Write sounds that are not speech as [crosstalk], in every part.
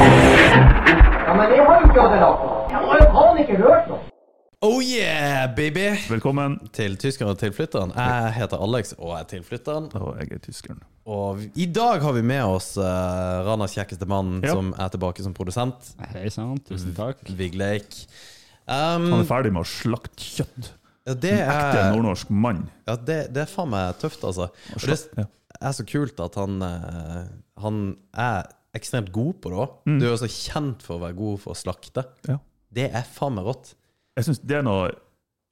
Ja, men jeg har jo ikke hatt det lagt på. Jeg har jo faen ikke hørt noe. Oh yeah, baby! Velkommen. Til tyskeren og tilflytteren. Jeg heter Alex, og jeg er tilflytteren. Og jeg er tyskeren. Og vi- i dag har vi med oss eh, Ranas kjekkeste mann, Ja. som er tilbake som produsent. Hei sann, tusen takk. Vigleik. Han Um, er ferdig med å slakte kjøtt. ja, det Ekte er, nordnorsk mann. ja, det, det er faen meg tøft, altså. Og det Ja. er så kult at han, eh, han er ekstremt god på det òg. Mm. Du er jo så kjent for å være god for å slakte. Ja. Det er faen meg rått. Jeg syns det er noe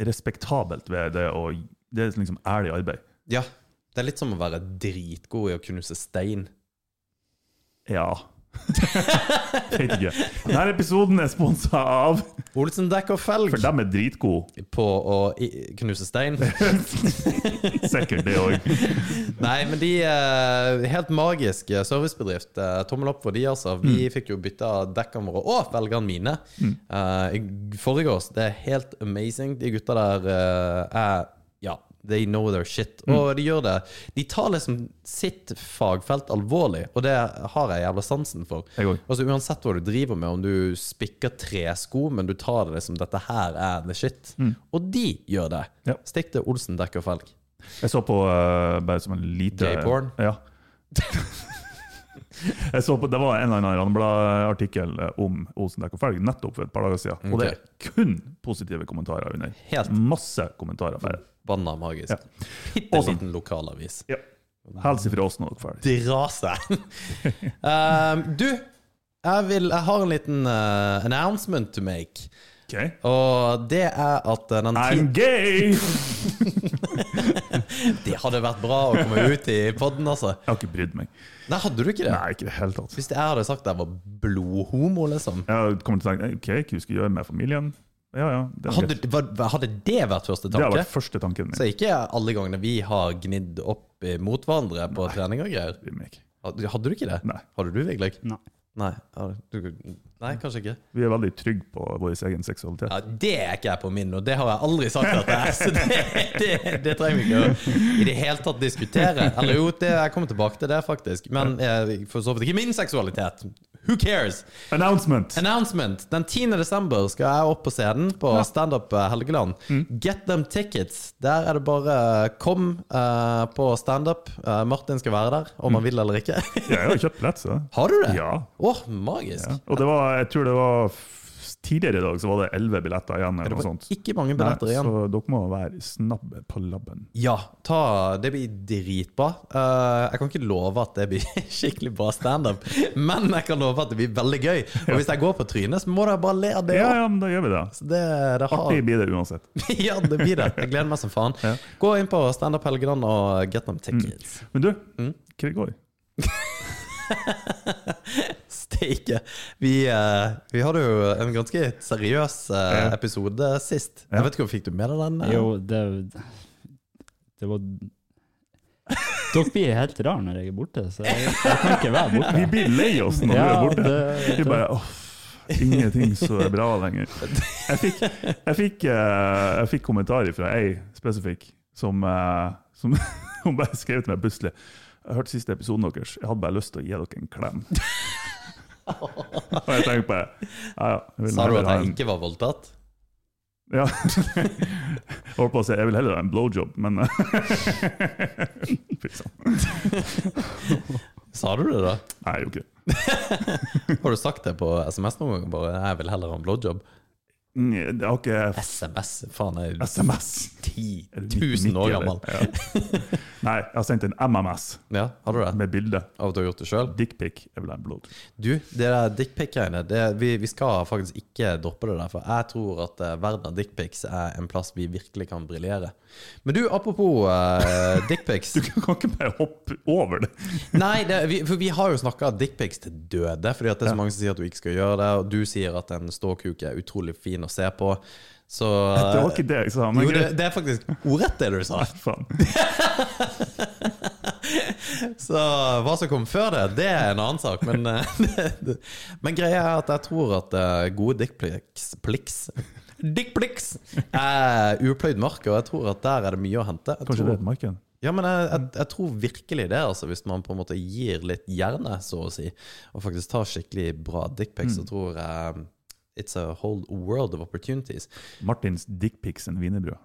respektabelt ved det å Det er liksom ærlig arbeid. Ja. Det er litt som å være dritgod i å knuse stein. Ja. [laughs] Vet ikke. Denne episoden er sponsa av Olsen dekk og felg For dem er dritgode. på å i- knuse stein. Sikkert det òg. Nei, men de eh, Helt magisk servicebedrift. Eh, Tommel opp for de, altså. Vi Mm. fikk jo bytta dekkene våre og velgerne mine eh, i forrige års. Det er helt amazing. De gutta der eh, er Ja, they know their shit. Mm. Og de gjør det. De tar liksom sitt fagfelt alvorlig, og det har jeg jævla sansen for. Jeg òg. Altså Uansett hva du driver med, om du spikker tresko, men du tar det som dette her er the shit. Og de gjør det. Mm. Ja. Stikk til Olsen dekk og felg. Jeg så på eh, bare som en lite Gay-porn? Ja. [laughs] jeg så på, det var en eller annen Randblad-artikkel om Olsen Dekk og Felg nettopp for et par dager siden. Og det er kun positive kommentarer under. Helt. Masse kommentarer. Bare. Banna magisk. Ja. Bitte Awesome. liten lokalavis. Ja. Hils ifra oss når dere er ferdig. Dra [laughs] seg! um, du, jeg, vil, jeg har en liten eh, announcement to make. Ok. Og det er at eh, den I'm ti- gay! Det hadde vært bra å [laughs] komme ut i podden, altså. Jeg har ikke brydd meg. Nei, hadde du ikke det? Nei, ikke i det hele tatt. Hvis jeg hadde sagt at jeg var blodhomo, liksom. Jeg har kommet til å tenke ok, hva vi skal gjøre med familien. Ja, ja. Det, er Hadde, greit. hva- hadde det vært første det har tanke? vært første tanken Så min. ikke alle gangene vi har gnidd opp eh, mot hverandre på trening og greier. Bryr meg ikke. Hadde, hadde du ikke det? Nei. Hadde du, Vigleik? Nei. Nei, hadde du- nei, kanskje ikke. Vi er veldig trygge på vår egen seksualitet. Ja, Det er ikke jeg på min, og det har jeg aldri sagt at jeg er. Så det, det, det trenger vi ikke å i det hele tatt diskutere. Eller jo, det, jeg kommer tilbake til det, faktisk. Men eh, for så vidt ikke min seksualitet. Who cares? Announcement! Announcement! Den 10. desember skal jeg opp på scenen på Standup eh, Helgeland. Mm. Get them tickets! Der er det bare eh, kom eh, på standup. Eh, Martin skal være der, om han vil eller ikke. Mm. Ja, jeg har kjøpt billett, så. Har du det? Ja. Åh, magisk! Ja. Og det var, jeg tror det var f- tidligere i dag så var det elleve billetter igjen. eller Det noe var sånt. ikke mange billetter igjen. Så dere må være snabbe på labben. Ja, ta, det blir dritbra. Eh, jeg kan ikke love at det blir [laughs] skikkelig bra standup, men jeg kan love at det blir veldig gøy. Og hvis jeg går på trynet, så må dere bare le av det. Ja, også. ja, men da gjør vi det. Så Det, det har... Artig blir det uansett. [laughs] ja, det blir det. Jeg gleder meg som faen. Ja. Mm. Gå inn på Standup Helgeland og get them tickets. Men du, Mm. hva det går? [laughs] Steike. Vi, eh, vi hadde jo en ganske seriøs eh, Ja. episode sist. Ja. Jeg vet ikke om Fikk du med deg den? eh? Jo, det Det var Dere blir helt rar når jeg er borte, så jeg, jeg kan ikke være borte. Vi blir lei oss når vi er borte. det- Vi bare «Åff, Ingenting som er bra lenger. Jeg fikk, jeg fikk, eh, jeg fikk kommentarer fra ei spesifikk som, eh, som [laughs] hun bare skrev til meg plutselig. Jeg hørte siste episoden deres. Jeg hadde bare lyst til å gi dere en klem. Og jeg tenkte på det. Ja, ja, jeg vil Sa du heller at ha jeg en- ikke var voldtatt? Ja. Jeg holdt på å si jeg vil heller ha en blowjob, men eh, [laughs] Fy søren. Sa du det, da? Nei, jeg gjorde ikke det. Har du sagt det på SMS noen gang? Bare 'jeg vil heller ha en blowjob'? Mm, Det har ikke SMS, faen, jeg er SMS. ti Er du tusen 90, år gammel. eller? Ja. [laughs] Nei, jeg har sendt en MMS Ja, har du det? med bilde. Av at du har gjort det sjøl? Dickpic er vel en blod. Du, det der dickpic-greiene det- vi, vi skal faktisk ikke droppe det der, for jeg tror at eh, verden av dickpics er en plass vi virkelig kan briljere. Men du, apropos eh, [laughs] dickpics. Du kan ikke bare hoppe over det. Nei, det, vi, for vi har jo snakka dickpics til døde, fordi at det er så mange som sier at du ikke skal gjøre det, og du sier at en ståkuk er utrolig fin å se på, [laughs] så eh, Det var ikke det jeg sa. Men Jo, det, greit. det er faktisk ordrett det du [laughs] sa. Faen. Så hva som kom før det, det er en annen sak. Men, [laughs] eh, det, det, men greia er at jeg tror at eh, gode dickpics pliks- Dickpics er upløyd mark, og jeg tror at der er det mye å hente. Jeg Kanskje tror, det er et marked? Ja, men jeg, jeg, jeg tror virkelig det, altså, hvis man på en måte gir litt hjerne, så å si, og faktisk tar skikkelig bra dickpics, Mm. så tror jeg um, It's a whole world of opportunities. Martins Dickpics en wienerbrød.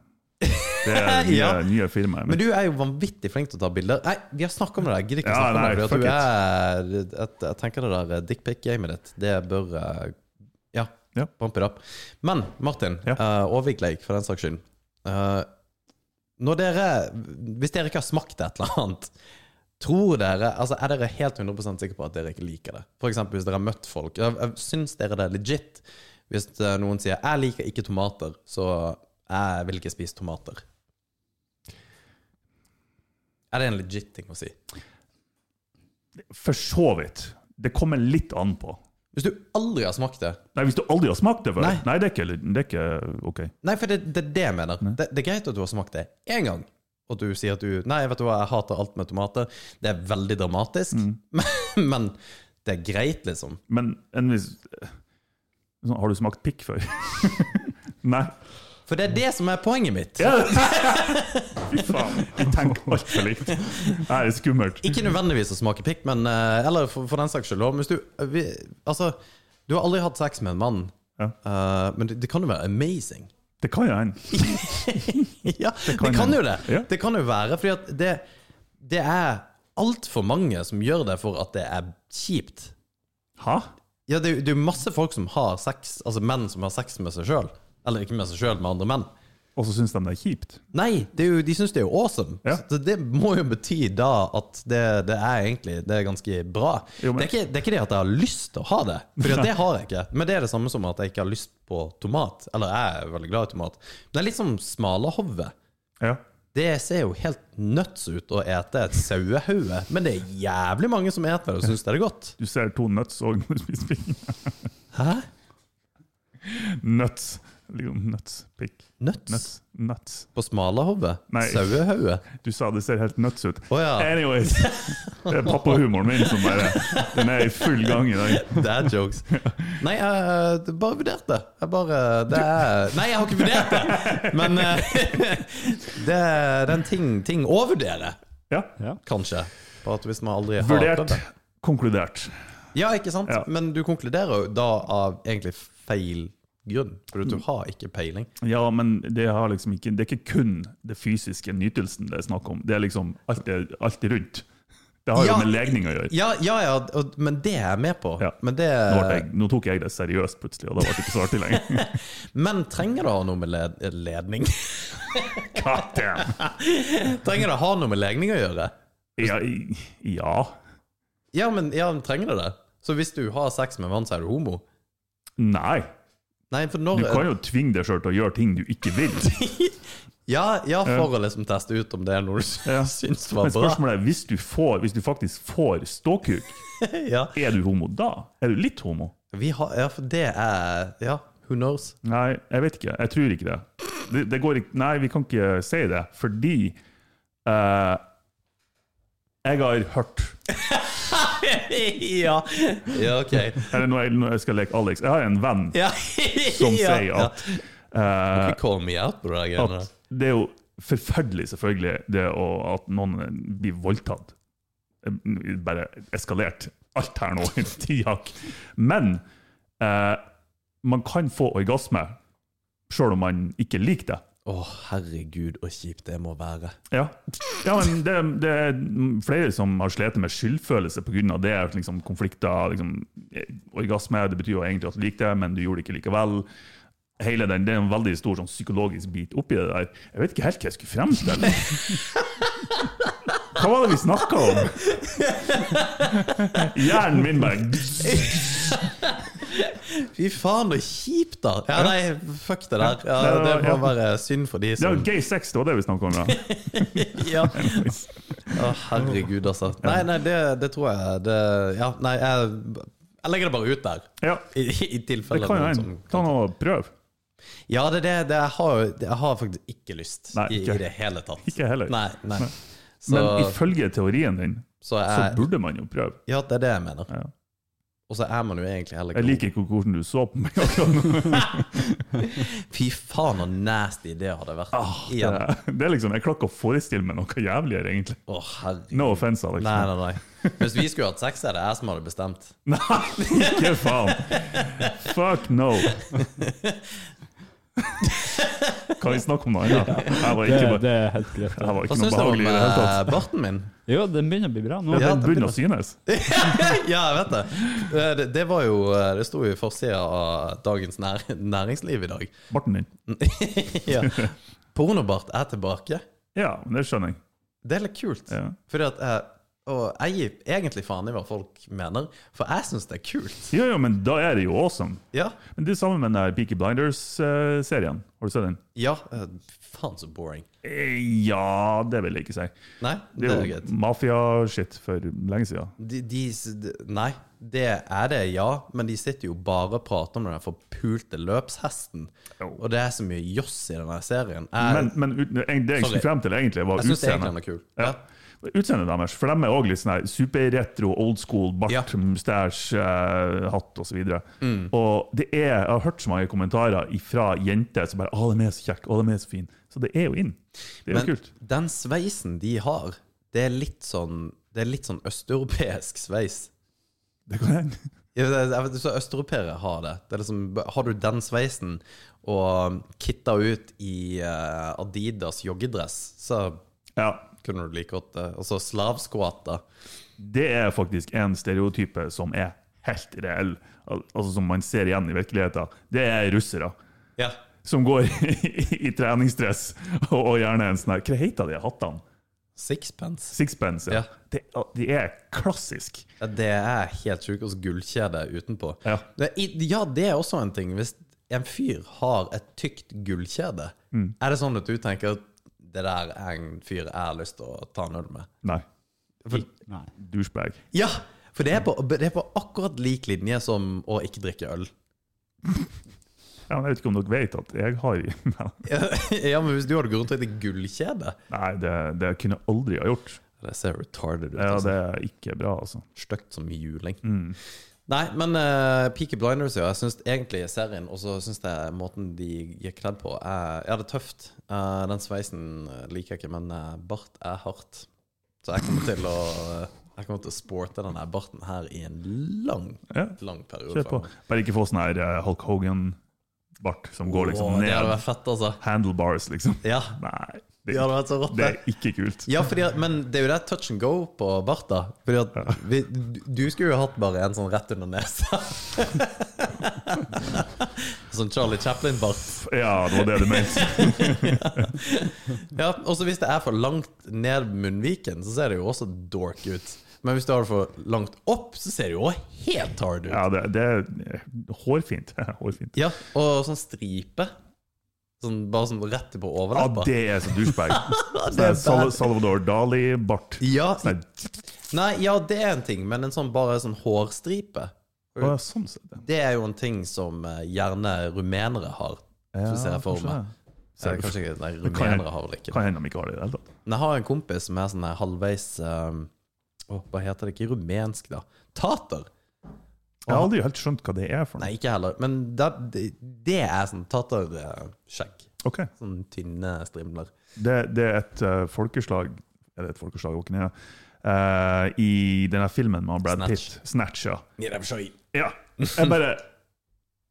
Det [laughs] er nye, Ja. nye firmaet. Men du er jo vanvittig flink til å ta bilder. Nei, vi har snakka om det der. Jeg Gidder ikke Ja, snakke om nei, det. fuck fordi at du er, at, jeg tenker det der eh, dickpic-gamet ditt, det bør eh, Ja, Ja. pump it up. Men Martin, Ja. eh, og Vigleik for den saks skyld. Eh, når dere Hvis dere ikke har smakt et eller annet Tror dere, altså Er dere helt 100 sikre på at dere ikke liker det? For eksempel hvis dere har møtt folk. eh, eh, Syns dere det er legit hvis eh, noen sier 'jeg liker ikke tomater', så eh, jeg vil ikke spise tomater? Er det en legit ting å si? For så vidt. Det kommer litt an på. Hvis du aldri har smakt det Nei, Hvis du aldri har smakt det før? Nei. Nei, det, er ikke, det er ikke OK. Nei, for det det er det, jeg mener. Det, det er greit at du har smakt det én gang, og du sier at du Nei, vet du hva, jeg hater alt med tomater. Det er veldig dramatisk, [laughs] men, men det er greit, liksom. Men en viss sånn, Har du smakt pikk før? [laughs] Nei. For det er det som er poenget mitt. Ja. [laughs] Fy faen. Vi tenker altfor likt. Det er skummelt. Ikke nødvendigvis å smake pikk, men eh, Eller for, for den saks skyld også, Hvis du eh, vi, Altså, du har aldri hatt sex med en mann, Ja. eh, men det, det kan jo være amazing. Det kan jo hende. [laughs] ja, det kan, kan jo hende. det. Ja. Det kan jo være, fordi at det, det er altfor mange som gjør det for at det er kjipt. Hæ? Ja, det, er jo- det er jo masse folk som har sex, altså menn som har sex med seg sjøl. Eller ikke med seg sjøl, med andre menn. Og så syns de det er kjipt? Nei, det er jo, de syns det er jo awesome. Ja. Så det må jo bety da at det, det er egentlig det er ganske bra. Jo, men- det, er ikke, det er ikke det at jeg har lyst til å ha det, for det har jeg ikke. Men det er det samme som at jeg ikke har lyst på tomat. Eller jeg er veldig glad i tomat. Men det er litt som smalahove. Ja. Det ser jo helt nuts ut å ete et sauehauge, men det er jævlig mange som eter det og syns det er godt. Du ser to nuts òg når [laughs] du spiser pikk. Hæ? Nuts. Liksom nuts. Pikk. Nuts? Nuts. Nuts. På smalahove? Nei. Sauehauge? Du sa det ser helt nuts ut. Å ja. Anyways. Det er pappahumoren min som bare Den er i full gang i dag. Dad jokes. Nei, jeg eh, bare vurderte. Jeg bare det er, Nei, jeg har ikke vurdert det! Men eh, [laughs] det, er- det er en ting, ting å vurdere, Ja. Ja. kanskje. På at hvis man aldri har prøvd Vurdert. det. Konkludert. Ja, ikke sant? Ja. Men du konkluderer jo da av egentlig feil grunn. For du har ikke peiling. Ja, men det, har liksom ikke, det er ikke kun det fysiske nytelsen det er snakk om. Det er liksom alt, det, alt det rundt. Det har Ja. jo med legning å gjøre. Ja, ja, ja, og, men det er jeg med på. Ja. Men, det, Nå, ble jeg, nå tok jeg det seriøst plutselig, og da ble det ikke så artig [laughs] lenger. men trenger det å ha noe med led ledning [laughs] God damn! Trenger det å ha noe med legning å gjøre? Ja, i- ja. Ja, men ja, men trenger det det? Så hvis du har sex med en mann, så er du homo? Nei. Nei, for Du når kan jo tvinge deg sjøl til å gjøre ting du ikke [laughs] vil. Ja, ja, for å liksom teste ut om det er noe du sy- Ja. [laughs] syns var Men bra. spørsmålet er, hvis du, får, hvis du faktisk får ståkuk, Ja. er du homo da? Er du litt homo? Vi har, ja, for det er Ja, who [laughs] knows? Nei, jeg vet ikke. Jeg tror ikke det. det, det går ikke. Nei, vi kan ikke si det, fordi eh, jeg har hørt ja. ja, ok. [laughs] Eller nå, jeg, nå jeg skal leke Alex. Jeg har en venn Ja. som [laughs] ja. sier at, ja. eh, Call me out på det der greiene der. at det er jo forferdelig, selvfølgelig, det å, at noen blir voldtatt. Eh, Bare eskalert. Alt her nå. Tiak. Men eh, man kan få orgasme sjøl om man ikke liker det. Å, herregud, så kjipt det må være. Ja, ja men det, det er flere som har slitt med skyldfølelse pga. det. liksom Konflikter, liksom, eh, orgasme. Det betyr jo egentlig at du likte det, men du gjorde det ikke likevel. Hele den, Det er en veldig stor sånn, psykologisk bit oppi det der. Jeg vet ikke helt hva jeg skulle frem til. Hva var det vi snakka om? Hjernen min bare Fy faen, så kjipt, da! Ja, nei, fuck det der. Ja, Nei, det det var- må ja. være synd for de Det var som gay sex, det var det vi snakka om, ja. [laughs] Ja. Å, herregud, altså. Nei, nei, det, det tror jeg det, Ja, nei, jeg, jeg legger det bare ut der. ja. I, i tilfelle Det kan jo noen hende. som- Ta nå og prøv. Ja, det er det, det jeg, har, jo- jeg har faktisk ikke lyst Nei, I, ikke. i det hele tatt. Ikke heller. Nei, nei. Så, Men ifølge teorien din, så så jeg burde man jo prøve. Ja, det er det jeg mener. Ja. Og så er man jo egentlig heller Jeg god. liker ikke hvordan du så på meg akkurat [laughs] nå. Fy faen, så nasty det hadde vært. Ah, Igjen. Å, Ah, Det er liksom, Jeg klarer ikke å forestille meg noe jævligere, egentlig. herregud. No offense, Alex. Nei, nei, nei. Hvis vi skulle hatt sex, er det jeg som hadde bestemt. [laughs] Nei, ikke faen! Fuck no! Kan vi snakke om noe annet? Her var Det, ikke, bare, det er helt greit. her Ja. var Hva ikke syns noe du om behagelig i det hele tatt. eh, barten min? [laughs] Jo, den begynner å bli bra nå. Ja, Ja, Den det begynner å synes. ja, jeg vet det. Eh, Det, det var jo eh, Det sto jo i forsida av Dagens nær, Næringsliv i dag. [laughs] Barten din. [laughs] ja. Pornobart er tilbake. Ja, men det skjønner jeg. Det er litt kult. Ja. Fordi at jeg, Og jeg gir egentlig faen i hva folk mener, for jeg syns det er kult. Jo, jo, men da er det jo awesome. Ja, Men det er sammen med den der Peaky Blinders-serien. Har du sett den? ja eh, faen så boring. Eh, Ja, det vil jeg ikke si. Nei, Det er jo greit. mafia-shit for lenge siden. De, de, s- de, nei, det er det, ja. Men de sitter jo bare og prater om den der forpulte løpshesten. Jo. Og det er så mye joss i denne serien. Jeg, Men, men ut, det jeg Sorry. skulle frem til, egentlig, var jeg syns egentlig den utseendet. er kul. Ja. Utseendet deres. For de er òg litt sånn her superretro, old school, bart, Ja. mustæsj, eh, hatt osv. Mm. Og det er, jeg har hørt så mange kommentarer fra jenter som bare 'Å, de er så kjekke. Å, de er så fine.' Så det er jo inn. Det er jo Men kult. den sveisen de har, det er litt sånn Det er litt sånn østeuropeisk sveis. Det kan hende. Jeg vet- jeg vet, så Østeuropeere har det. det er liksom, har du den sveisen og kitta ut i eh, Adidas joggedress, så [laughs] Ja. kunne du like godt det. Altså slavskvater. Det er faktisk en stereotype som er helt reell, al altså som man ser igjen i virkeligheten. Det er russere. Ja. som går [laughs] i, i treningsdress og, og gjerne en sånn her Hva heter de hattene? Sixpence. Sixpence, ja. Ja. De, de er klassisk. Ja, det er helt sjukt. Og så gullkjede utenpå. Ja. Det, i- ja, det er også en ting. Hvis en fyr har et tykt gullkjede, er det sånn at du tenker at det der er en fyr jeg har lyst til å ta en øl med? Nei, Nei. douchebag. Ja, for det er på, det er på akkurat lik linje som å ikke drikke øl. Ja, men jeg vet ikke om dere vet at jeg har [laughs] [laughs] ja, men hvis du hadde grunn til å hete gullkjede Nei, det, det kunne jeg aldri ha gjort. Det ser retarded ut. Ja, altså. det Mm. er ikke bra, altså. Støkt som juling. Nei, men uh, Peaky Blinders, ja. Jeg syns egentlig serien, og så syns jeg måten de gikk kledd på, er Ja, det er tøft. Eh, den sveisen eh, liker jeg ikke, men eh, bart er hardt. Så jeg kommer til å eh, Jeg kommer til å sporte denne barten her i en lang, Ja, lang periode. kjør på. fremover. Bare ikke få sånn her eh, Hulk Hogan-bart som går liksom Åh, Det hadde ned. vært fett, altså. Handlebars, liksom. Ja, Nei, det det, hadde vært så rått. det er ikke kult. Ja, fordi, at- men det er jo det touch and go på bart, da. Fordi at vi, du skulle jo hatt bare en sånn rett under nesa. [laughs] sånn Charlie Chaplin-bart. Ja, det var det du mente. Ja, og så hvis det er for langt ned munnviken, så ser det jo også dork ut. Men hvis du har det for langt opp, så ser det jo også helt hard ut. Ja, det, det er hårfint. [laughs] Hårfint. Ja, og sånn stripe. Sånn, bare sånn rett på Ja, overleppa. det er så [laughs] douchebag. Det er Sånn Sal bad. Salvador Dali-bart. Ja, Sånn nei, ja, det er en ting, men en sånn bare sånn hårstripe Å, ja, sånn sett, ja. Det er jo en ting som eh, gjerne rumenere har. Så ser jeg for kanskje meg. det. Eh, Kanskje ikke [laughs] nei, Det kan hende- rumenere har vel ikke det. Kan hende de ikke har det i det hele tatt. Men jeg har en kompis som er sånn her halvveis um, å, Hva heter det? Ikke rumensk, da. Tater! Jeg har aldri helt skjønt hva det er for noe. Nei, ikke heller. Men det, det, det er sånn taterskjegg. Ok, Sånn tynne strimler. Det, det er et eh, folkeslag Er det et folkeslag? Håkon, ja. Eh, I denne filmen med Brad Snatch. Pitt, Snatch, ja. Ja, ja. Jeg bare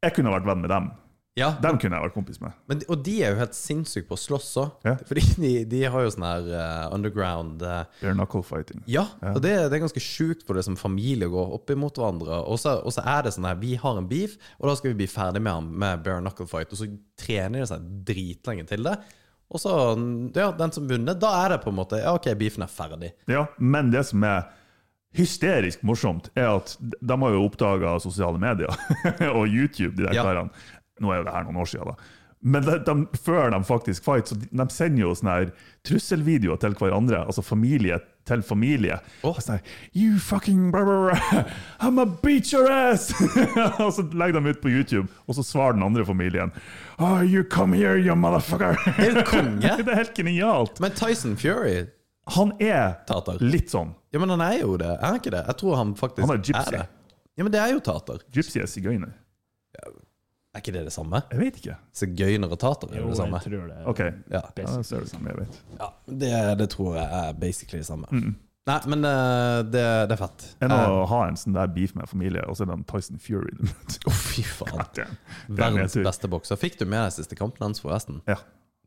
Jeg kunne vært venn med dem. Dem kunne jeg vært kompis med. men, de- og de er jo helt sinnssyke på å slåss òg. Ja. Fordi de, de har jo sånn her eh, underground eh, Bare knuckle fighting. Ja, og det, det er ganske sjukt for det som familie går opp imot hverandre. Og så, og så er det sånn her, vi har en beef, og da skal vi bli ferdig med han med bare knuckle fight. Og så trener de seg sånn dritlenge til det. Og så, ja, den som vunnet, da er det på en måte Ja, OK, beefen er ferdig. Ja, men det som er hysterisk morsomt, er at de har jo oppdaga sosiale medier [laughs] og YouTube, de der Ja. karene. Nå er jo det her noen år siden, da. Men de, de, før de faktisk fight, så de, de sender jo sånne her trusselvideoer til hverandre, altså familie til familie. Åh. Og Sånn her, you fucking blah, blah, blah. I'm a beat your ass! [laughs] og så legger de ut på YouTube, og så svarer den andre familien. Oh, you come here, you motherfucker! Det er jo konge! [laughs] det er helt genialt. Men Tyson Fury Han er Tater. litt sånn. Ja, men han er jo det. Er han ikke det? Jeg tror han faktisk Han er gypsy. det. Ja, men det er jo tater. Gypsy er sigøyner. Er ikke det det samme? Jeg vet ikke. Sigøyner og tater er Jo, jo det jeg samme. tror det. Ok, Ja, ja, da ser du som jeg vet. ja det, det tror jeg er basically det samme. Nei, men eh, det, det er fett. Eh, Enn å ha en sånn der beef med familie, og så er det en Tyson Fury. [laughs] du møter. Å, fy faen. Det er- det er Verdens nedtur. beste bokser. Fikk du med deg siste kampen hans, forresten? Ja.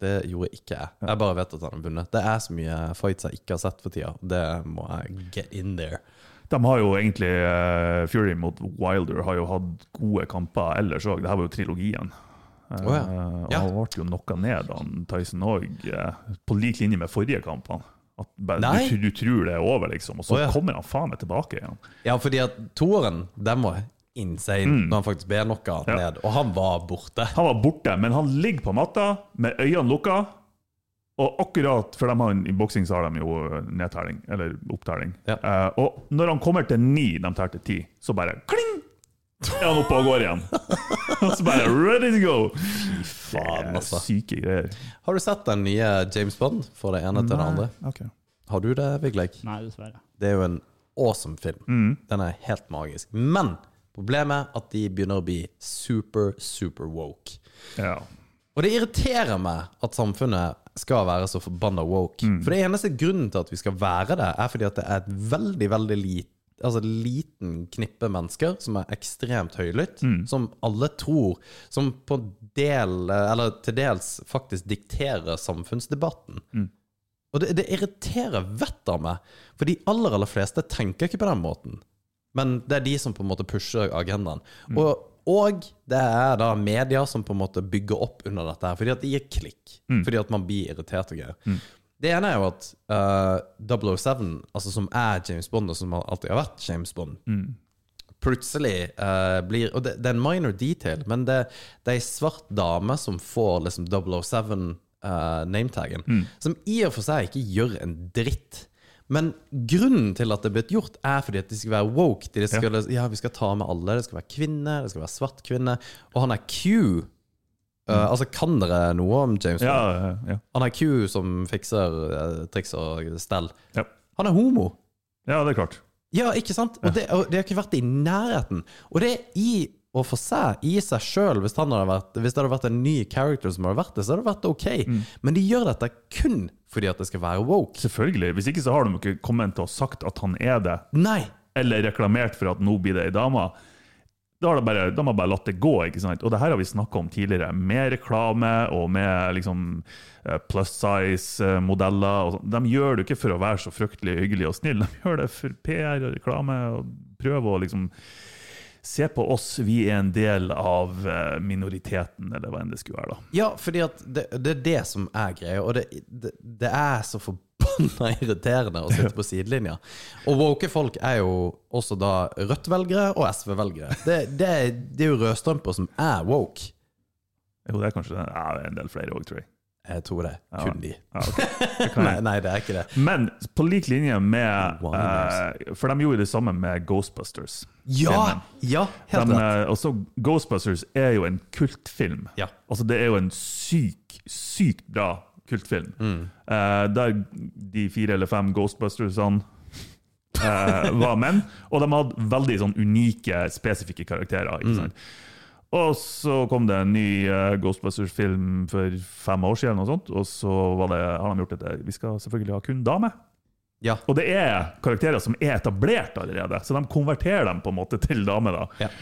Det gjorde ikke jeg. Jeg bare vet at han har vunnet. Det er så mye fights jeg ikke har sett for tida. Det må jeg get in there. De har jo egentlig eh, Fury mot Wilder har jo hatt gode kamper ellers òg. Dette var jo trilogien. Eh, Å, ja. og Ja. Han ble jo knocka ned, han Tyson òg, på lik linje med forrige kamp. Han. At bare, Nei. du, du tror det er over, liksom, og så Å, ja. kommer han faen meg tilbake igjen. Ja, fordi at toeren, den var insane når han faktisk ble knocka Mm. Ja. ned. Og han var borte. Han var borte, men han ligger på matta med øynene lukka. Og akkurat, for de har, en- I boksing så har de jo eh, nedtelling, eller opptelling. Ja. Eh, og når han kommer til ni, de tar til ti, så bare kling! Er han oppe og går igjen. [laughs] og så bare ready to go! Faen, Det er altså. Syke greier. Har du sett den nye James Bond? For det ene til det andre. Ok. Har du det, Vigleik? Nei, dessverre. Det er jo en awesome film. Mm. Den er helt magisk. Men problemet er at de begynner å bli super, super woke. Ja. Og det irriterer meg at samfunnet skal være så forbanna woke. For det eneste grunnen til at vi skal være det, er fordi at det er et veldig, veldig lit, altså liten knippe mennesker som er ekstremt høylytt, som alle tror Som på del, eller til dels faktisk dikterer samfunnsdebatten. Og det, det irriterer vettet av meg, for de aller, aller fleste tenker ikke på den måten. Men det er de som på en måte pusher agendaen. Og, og det er da media som på en måte bygger opp under dette her, fordi at det gir klikk. Fordi at man blir irritert og greier. Det ene er jo at eh, 007, altså som er James Bond, og som alltid har vært James Bond, plutselig eh, blir Og det, det er en minor detail, men det, det er ei svart dame som får liksom 007 eh, nametaggen, som i og for seg ikke gjør en dritt. Men grunnen til at det er blitt gjort, er fordi at de skal være woke. De skal, ja. vi skal ta med alle. Det skal være kvinne, det skal være svart kvinne. Og han er Q. Eh, altså, kan dere noe om James Bond? Ja, ja. Han er Q som fikser eh, triks og stell. Ja. Han er homo. ja, det er klart. Ja, ikke sant? Og det, og det har ikke vært i nærheten. Og det er i og for seg, i seg sjøl, hvis, han hadde vært- hvis det hadde vært en ny character som hadde vært det, så hadde det vært ok. Mm. Men de gjør dette kun fordi at det skal være woke. Selvfølgelig. Hvis ikke så har de ikke kommet til å sagt at han er det, Nei! eller reklamert for at nå blir det ei dame. Da har de bare, de har bare latt det gå. ikke sant? Og det her har vi snakka om tidligere, med reklame og med liksom eh, plus size-modeller. og sånn. De gjør det ikke for å være så fryktelig hyggelig og snill, [laughs] de gjør det for PR og reklame. og prøve å liksom Se på oss, vi er en del av eh, minoriteten, eller hva enn det skulle være. da. Ja, fordi at det, det er det som er greia, og det, det, det er så forbanna irriterende å sitte på [laughs] sidelinja. Og woke folk er jo også da Rødt-velgere og SV-velgere. Det, det, det er jo rødstrømper som er woke. Jo, det er kanskje ja, det er en del flere òg, tror jeg. Jeg tror det. Kun de. Ja, ok. Det [laughs] kan jeg- Nei, nei, det er ikke det. Men på lik linje med Wow, eh, For de gjorde det samme med Ghostbusters. Ja! ja helt De, rett. eh, også Ghostbusters er jo en kultfilm. Ja. Altså, det er jo en syk, sykt bra kultfilm. Mm. Eh, der de fire eller fem Ghostbustersene [laughs] eh, var menn. Og de hadde veldig sånn unike, spesifikke karakterer. Mm. ikke sant? Og så kom det en ny eh, Ghostbusters-film for fem år siden, og, sånt, og så var det, har de gjort dette. Vi skal selvfølgelig ha kun damer. Ja. Og det er karakterer som er etablert allerede, så de konverterer dem på en måte til dame. da. Ja.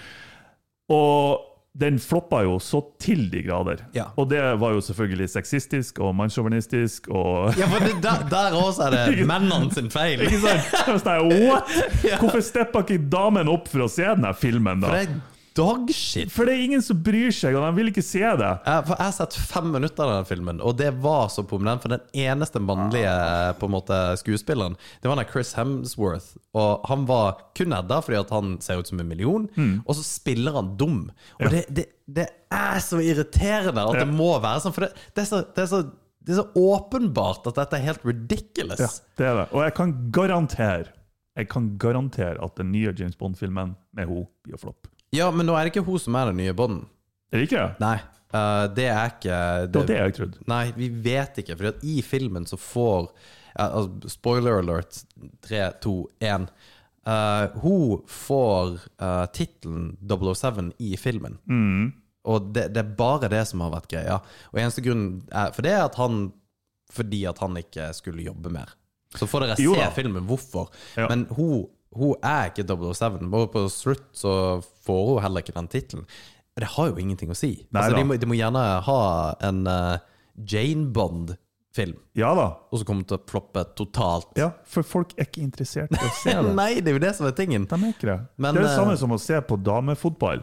Og den floppa jo så til de grader. Ja. Og det var jo selvfølgelig sexistisk og mannssjåvinistisk og [laughs] ja, for det, der, der også er det mennene sin feil. Ikke sant? Jeg var sånn, What?! Ja. Hvorfor steppa ikke damen opp for å se denne filmen, da? For det er dogshit! For det er ingen som bryr seg, og de vil ikke se det. Ja, for Jeg har sett fem minutter av den filmen, og det var så prominent. For den eneste mannlige eh, på en måte, skuespilleren Det var den Chris Hemsworth. Og han var kun Edda fordi at han ser ut som en million, Hmm. og så spiller han dum. Og det, det, det er så irriterende at Ja. det må være sånn, for det, det, er så, det, er så, det er så åpenbart at dette er helt ridiculous. Ja, det er det. Og jeg kan garantere jeg kan garantere at den nye James Bond-filmen med henne blir flopp. Ja, men nå er det ikke hun som er den nye Bonden. Er det ikke det? Nei, eh, det er ikke Det var det jeg trodde. Nei, vi vet ikke. For i filmen så får eh, altså, Spoiler alert. 3, 2, 1. Eh, hun får uh, tittelen 007 i filmen. Mm. Og det, det er bare det som har vært greia. Og eneste grunnen er, For det er at han Fordi at han ikke skulle jobbe mer. Så får dere Jo se da. filmen hvorfor. Ja. Men hun, hun er ikke 007. Bare på slutt så får hun heller ikke den tittelen. Det har jo ingenting å si. Nei altså, da. de, må, de må gjerne ha en eh, Jane Bond-film, Ja da. og så kommer det til å floppe totalt. Ja, for folk er ikke interessert i å se det. [laughs] Nei, det er jo det som er tingen. De er ikke det. Men, det er det eh, samme som å se på damefotball.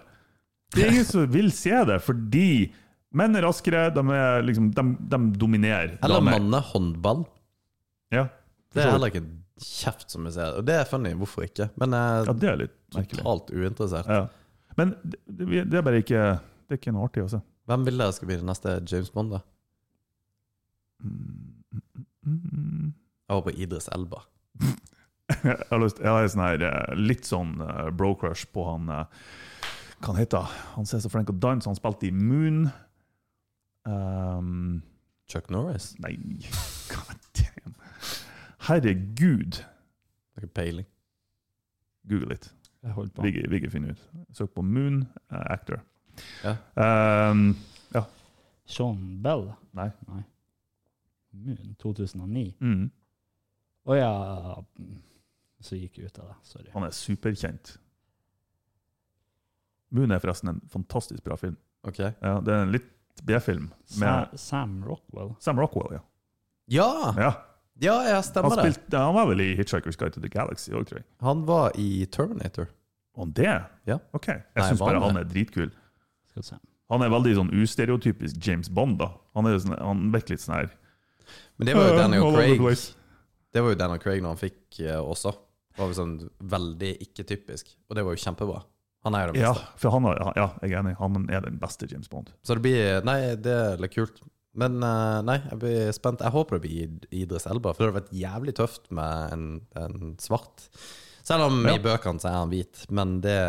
Det er ingen som vil se det, fordi menn er raskere, de, er liksom, de, de dominerer. Eller damer. mannehåndball. Ja. Det er heller ikke en kjeft som vi ser. Og det er funny, hvorfor ikke? Men jeg ja, er det er litt merkelig. totalt uinteressert. Ja. Men det, det er bare ikke Det er ikke noe artig å se. Hvem vil dere skal bli den neste James Bond, da? Mm. Jeg håper Idris Elba. Jeg har lyst Jeg har en sånn her eh, litt sånn eh, bro-crush på han eh, Hva han heter han? Han ser så flink ut. Dans, han spilte i Moon. Um, Chuck Norris? nei God damn. Herregud. Har ikke peiling. Google litt. Jeg holder på. Vigge, Vigge finner ut. Søk på Moon eh, Actor. Ja. Um, Sean Bell? Nei. Nei. Moon 2009. mm, Å ja Så gikk jeg ut av det. Sorry. han er superkjent. Moon er forresten en fantastisk bra film. Ok. Ja, det er en litt B-film. Sa Med Sam Rockwell. Sam Rockwell, ja. Ja! ja. Ja, ja, Han, Ah, stemmer det. spilte, han var vel i Hitchhiker's Guide to the Galaxy òg, tror jeg. Han var i Terminator. Og det? Ja. Ok. Nei, Jeg syns var bare han han er dritkul. Skal vi se. Han er veldig sånn ustereotypisk James Bond, da. Han, er sånn, han virker litt sånn her Men det var jo Ja, Daniel all over the Craig place. Det var jo Daniel Craig når han fikk eh, også. Det var jo sånn veldig ikke-typisk, og det var jo kjempebra. Han er jo det Ja, beste. for han, har- ja, jeg er enig. Han er den beste James Bond. Så det blir Nei, det er litt kult. Men eh, nei, jeg blir spent. Jeg håper det blir Id- Idris Elba, for det hadde vært jævlig tøft med en, en svart. Selv om Ja. i bøkene så er han hvit, men det,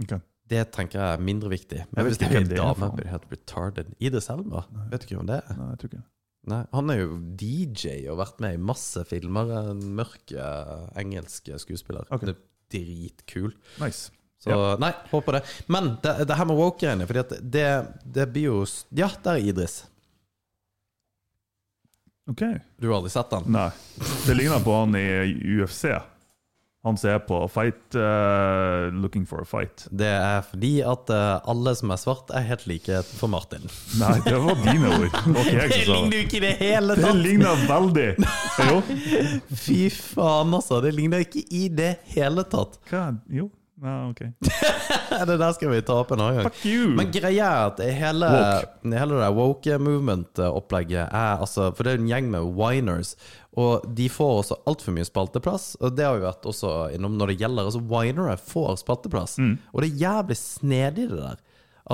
Ok. det tenker jeg er mindre viktig. Jeg Men vet hvis ikke det er hvem en det er, dame, faen. blir det helt retarded. Idris Elba, vet du ikke hvem det er? Nei, jeg tror ikke det. Nei, han er jo DJ og vært med i masse filmer. En mørk eh, engelsk skuespiller. Ok. Det er dritkul. Nice. Så nei, håper det. Men det, det her med woke-greiene, fordi at det, det blir jo s- Ja, der er Idris. Ok. Du har aldri sett den? Nei. Det ligner på han i UFC. Han som er på Fight eh, Looking for a fight. Det er fordi at eh, alle som er svart, er helt like for Martin. Nei, det var dine ord. Okay, [laughs] jeg, Det som sa ligner det. jo ikke i det hele det tatt! ligner veldig! Jo. Fy faen, altså. Det ligner ikke i det hele tatt. Hva? Jo. Nei, ok. [laughs] Det der skal vi ta opp en annen gang. Fuck you! Men greia er at hele, hele det der woke movement-opplegget er altså For det er en gjeng med winers, og de får også altfor mye spalteplass. Og det har vi vært også innom når det gjelder. Altså, winere får spalteplass, Mm. og det er jævlig snedig, det der.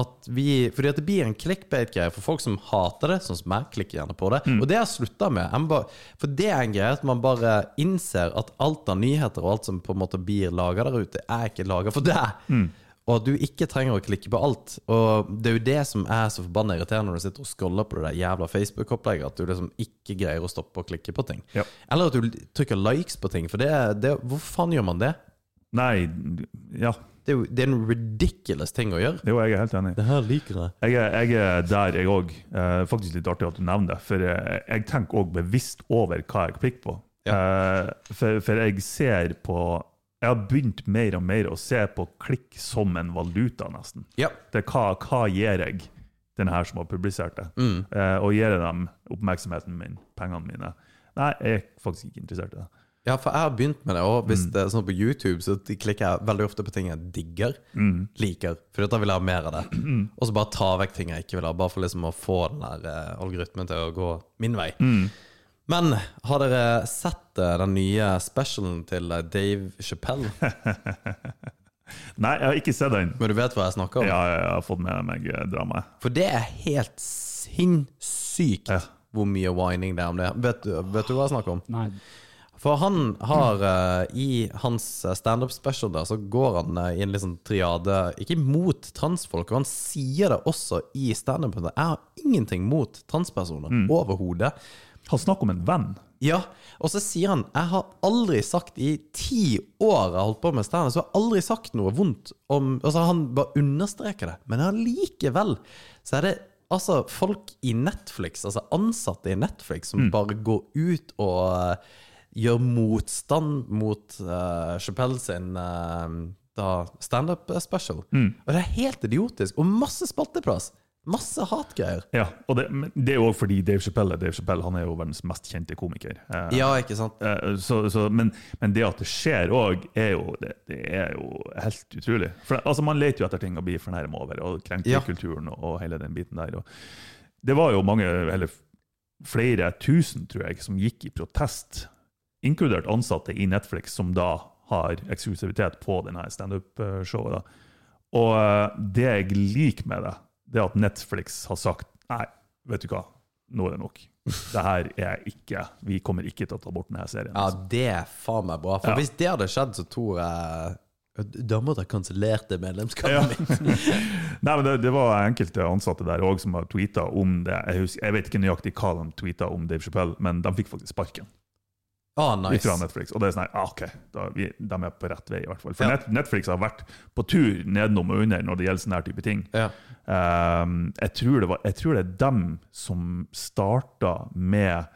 At vi, fordi at det blir en clickbait-greie for folk som hater det, sånn som meg. Klikker gjerne på det. Mm. Og det har jeg slutta med. Jeg må bare- for det er en greie at man bare innser at alt av nyheter og alt som på en måte blir laga der ute, er ikke laga for deg. Mm. Og at du ikke trenger å klikke på alt. Og det er jo det som er så forbanna irriterende når du sitter og scroller på det der jævla Facebook-opplegget, at du liksom ikke greier å stoppe å klikke på ting. Ja. Eller at du trykker likes på ting, for det, det Hvor faen gjør man det? Nei, ja. Det er jo det er en ridiculous ting å gjøre. Jo, jeg er helt enig. Det her liker jeg. Jeg er, jeg er der, jeg òg. Eh, faktisk litt artig at du nevner det. For jeg, jeg tenker òg bevisst over hva jeg klikker på. Eh, for, for jeg ser på Jeg har begynt mer og mer å se på klikk som en valuta, nesten. Ja. Det er hva, hva gir jeg den her som har publisert det? Eh, og gir jeg dem oppmerksomheten min, pengene mine? Nei, jeg er faktisk ikke interessert i det. Ja, for jeg har begynt med det, og hvis Mm. det er sånn på YouTube, så klikker jeg veldig ofte på ting jeg digger, Mm. liker, for da vil jeg ha mer av det. [clears throat] Og så bare ta vekk ting jeg ikke vil ha, bare for liksom å få den der eh, algoritmen til å gå min vei. Mm. Men har dere sett eh, den nye specialen til eh, Dave [laughs] Chappelle? Nei, jeg har ikke sett den. Men du vet hva jeg snakker om? Ja, jeg har fått med meg eh, dramaet. For det er helt sinnssykt Ja. hvor mye whining det er om det. Vet, du- vet du hva jeg snakker om? Nei. For han har eh, i hans eh, standup special der, så går han eh, i en liksom triade Ikke mot transfolk, og han sier det også i standupen. Jeg har ingenting mot transpersoner overhodet. Han snakker om en venn. Ja, og så sier han Jeg har aldri sagt i ti år jeg har holdt på med standup, så har jeg aldri sagt noe vondt om Altså, han bare understreker det, men allikevel så er det altså folk i Netflix, altså ansatte i Netflix, som bare går ut og eh, gjør motstand mot uh, Chappelle sin eh, da standup special. Og det er helt idiotisk, og masse spalteplass. Masse hatgreier. Ja, og det, men det er jo også fordi Dave Chappelle er Dave Chappelle. Han er jo verdens mest kjente komiker. Eh, Ja, ikke sant? eh, Så, så, men, men det at det skjer òg, er, jo- det, det er jo helt utrolig. For, altså, man leter jo etter ting å bli fornærma over, og krenke Ja. kulturen og, og hele den biten der. Og det var jo mange, eller flere tusen, tror jeg, som gikk i protest, inkludert ansatte i Netflix, som da har eksklusivitet på denne standup-showet. da. Og eh, det jeg liker med det, det er at Netflix har sagt nei, vet du hva, nå er det nok. Det her er ikke Vi kommer ikke til å ta bort denne serien. [laughs] Ja, det er faen meg bra. For Ja. hvis det hadde skjedd, så tror jeg Da måtte jeg kansellert det medlemskapet mitt. Nei, men det, det var enkelte ansatte der òg som har tweeta om det. Jeg, husker, jeg vet ikke nøyaktig hva de tweeta om Dave Chappelle, men de fikk faktisk sparken Ah, nice. fra Netflix. Og det er sånn her, ah, OK, da, vi, de er på rett vei, i hvert fall. For Ja. Net, Netflix har vært på tur nedenom og under når det gjelder sånne her type ting. Ja. Ehm, jeg, tror det var, jeg tror det er dem som starta med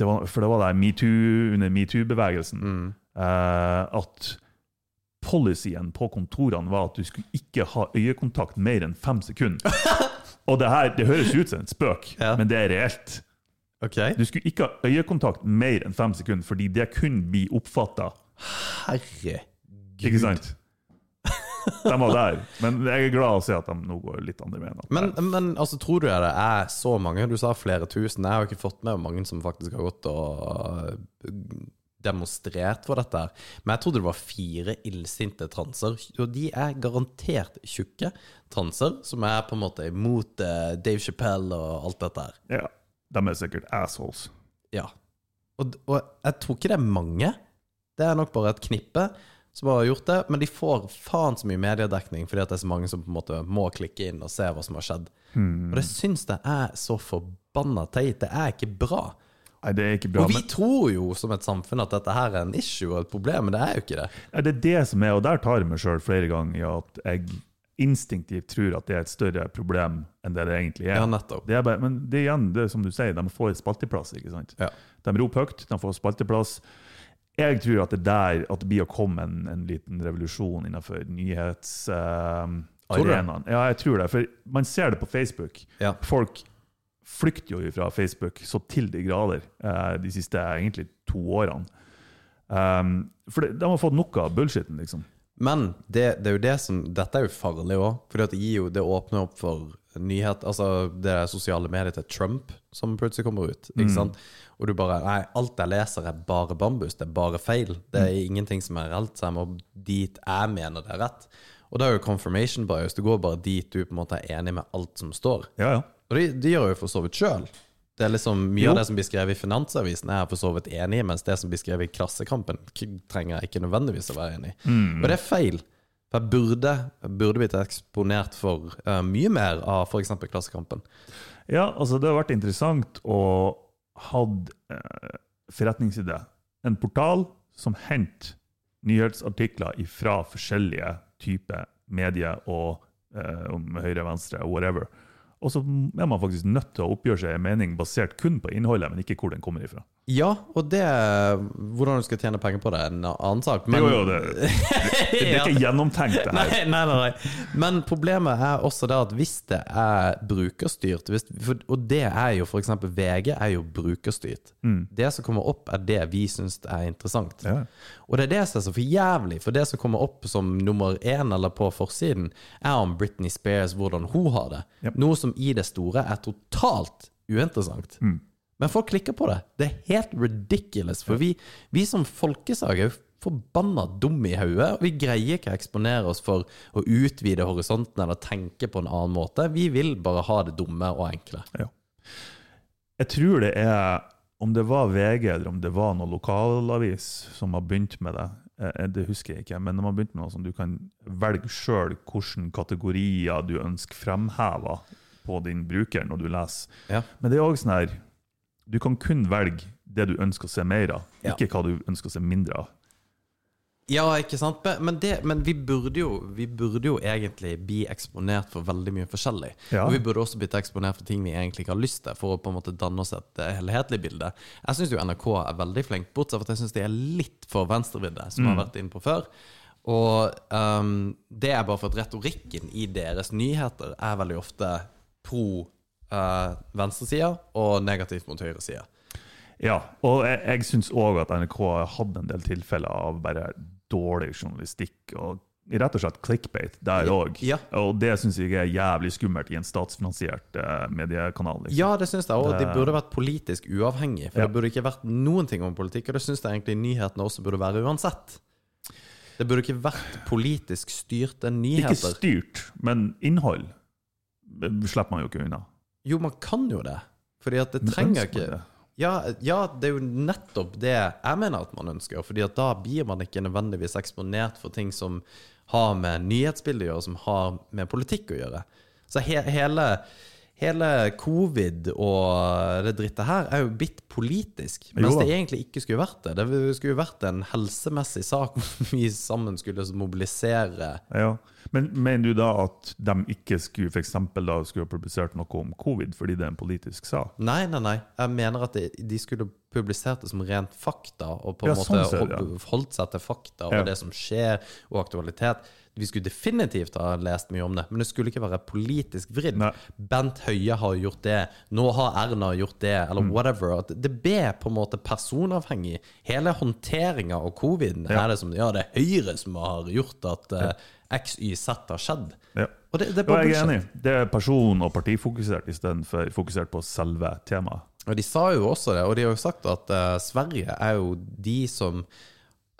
det var, For det var der MeToo, under metoo-bevegelsen. Mm. eh, at policyen på kontorene var at du skulle ikke ha øyekontakt mer enn fem sekunder. [laughs] Og det her, det høres ut som en spøk, Ja. men det er reelt. Ok. Du skulle ikke ha øyekontakt mer enn fem sekunder, fordi det kunne bli oppfatta. Ikke Herregud. sant? De var der. Men jeg er glad å se at de nå går litt andre veien. At Men, det- men altså, tror du det er så mange? Du sa flere tusen. Jeg har jo ikke fått med hvor mange som faktisk har gått og eh, demonstrert for dette. her. Men jeg trodde det var fire illsinte transer. Og de er garantert tjukke transer, som er på en måte imot eh, Dave Chappelle og alt dette her. ja, de er sikkert assholes. Ja. Og, og jeg tror ikke det er mange. Det er nok bare et knippe som har gjort det. Men de får faen så mye mediedekning fordi at det er så mange som på en måte må klikke inn og se hva som har skjedd. Og det syns jeg er så forbanna teit. Det er ikke bra. Nei, det er ikke bra. og vi men- tror jo som et samfunn at dette her er en issue og et problem, men det er jo ikke det. Ja, det er det som er, og der tar jeg meg sjøl flere ganger i at jeg instinktivt tror at det er et større problem enn det det egentlig er. Ja, nettopp. det er bare, men det er igjen, det er som du sier, de får spalteplass, ikke sant? Ja. De roper høyt, de får spalteplass. Jeg tror at det der at det blir å komme en, en liten revolusjon innenfor Tror du det? nyhetsarenaen. ja, jeg tror det, for man ser det på Facebook. Ja. Folk flykter jo fra Facebook så til de grader eh, de siste egentlig to årene. Um, for det, de har fått nok av bullshitten, liksom. Men det, det er jo det som, dette er jo farlig òg, for det, gir jo- det åpner opp for nyhet Altså det er sosiale medier til Trump som plutselig kommer ut. Ikke sant? Og du bare Nei, alt jeg leser, er bare bambus. Det er bare feil. Det er ingenting som er reelt, så jeg må dit jeg mener det er rett. Og det er jo confirmation bias. Du går bare dit du på en måte er enig med alt som står. Ja, ja. Og det, det gjør jeg jo for så vidt sjøl. Det er liksom, mye Jo. av det som blir skrevet i Finansavisen, er jeg for så vidt enig i, mens det som blir skrevet i Klassekampen, k- trenger jeg ikke nødvendigvis å være enig i. Mm. Og det er feil. For jeg burde, burde blitt eksponert for eh, mye mer av f.eks. Klassekampen. Ja, altså det har vært interessant å hatt eh, forretningsidé. En portal som henter nyhetsartikler fra forskjellige typer medier og eh, om høyre, venstre, whatever. Og så er man faktisk nødt til å oppgjøre seg en mening basert kun på innholdet, men ikke hvor den kommer ifra. Ja, og det Hvordan du skal tjene penger på det, er en annen sak. Det, er jo, det, det, det er [laughs] ikke gjennomtenkt, det her. [laughs] Nei, nei, nei, nei. Men problemet er også det at hvis det er brukerstyrt hvis, for, Og det er jo f.eks. VG er jo brukerstyrt. Det som kommer opp, er det vi syns er interessant. Mm. Ja. Og det er det som er så for jævlig, for det som kommer opp som nummer én eller på forsiden, er om Britney Spears, hvordan hun har det. Ja. Noe som i det store er totalt uinteressant. Men folk klikker på det. Det er helt ridiculous. For vi, vi som folkesag er jo forbanna dumme i hodet. og Vi greier ikke å eksponere oss for å utvide horisonten eller tenke på en annen måte. Vi vil bare ha det dumme og enkle. Jeg tror det er Om det var VG eller om det var noen lokalavis som har begynt med det, eh, det husker jeg ikke, men de har begynt med noe sånn du kan velge sjøl hvilke kategorier du ønsker fremheva på din bruker når du leser. Ja. Men det er òg sånn her Du kan kun velge det du ønsker å se mer av, Ja. ikke hva du ønsker å se mindre av. Ja, ikke sant? Men- Men, det, men vi, burde jo, vi burde jo egentlig bli eksponert for veldig mye forskjellig. Ja. Og vi burde også blitt eksponert for ting vi egentlig ikke har lyst til, for å på en måte danne oss et eh, helhetlig bilde. Jeg syns jo NRK er veldig flink, bortsett fra at jeg syns de er litt for venstrevidde, som jeg har vært inne på før. Og ehm, det er bare for at retorikken i deres nyheter er veldig ofte pro uh, venstresida og negativt mot høyresida. Ja, og jeg, jeg syns òg at NRK har hatt en del tilfeller av bare dårlig journalistikk. og Rett og slett clickbait der òg. Ja. Og det syns jeg er jævlig skummelt i en statsfinansiert eh, mediekanal. Liksom. Ja, det syns jeg òg. De burde vært politisk uavhengige. For Ja. det burde ikke vært noen ting om politikk, og det syns jeg egentlig nyhetene også burde være uansett. Det burde ikke vært politisk styrte Ikke nyheter. styrt, men innhold eh, slipper man jo ikke unna. Jo, man kan jo det. Fordi at det Men trenger ønsker man ikke det? ja, ja, det er jo nettopp det jeg mener at man ønsker. Fordi at da blir man ikke nødvendigvis eksponert for ting som har med nyhetsbildet å gjøre, som har med politikk å gjøre. Så he hele, hele covid og det drittet her er jo blitt politisk. Mens Jo da. det egentlig ikke skulle vært det. Det skulle jo vært en helsemessig sak [laughs] om vi sammen skulle mobilisere Ja. Men mener du da at de ikke skulle for eksempel da skulle ha publisert noe om covid fordi det er en politisk sak? Nei, nei, nei. Jeg mener at de, de skulle publisert det som rent fakta, og på en Ja, måte sånn ser det, ja. ho- holdt seg til fakta og Ja. det som skjer, og aktualitet. Vi skulle definitivt ha lest mye om det, men det skulle ikke være politisk vridd. Nei. Bent Høie har gjort det, nå har Erna gjort det, Mm. eller whatever. At det ble på en måte personavhengig. Hele håndteringa av coviden er det som Ja, det er Høyre som har gjort at eh, XYZ har skjedd. Ja. Og det, det er Jo, bare jeg er bullshit. enig. Det er person- og partifokusert istedenfor fokusert på selve temaet. Og de sa jo også det, og de har jo sagt at eh, Sverige er jo de som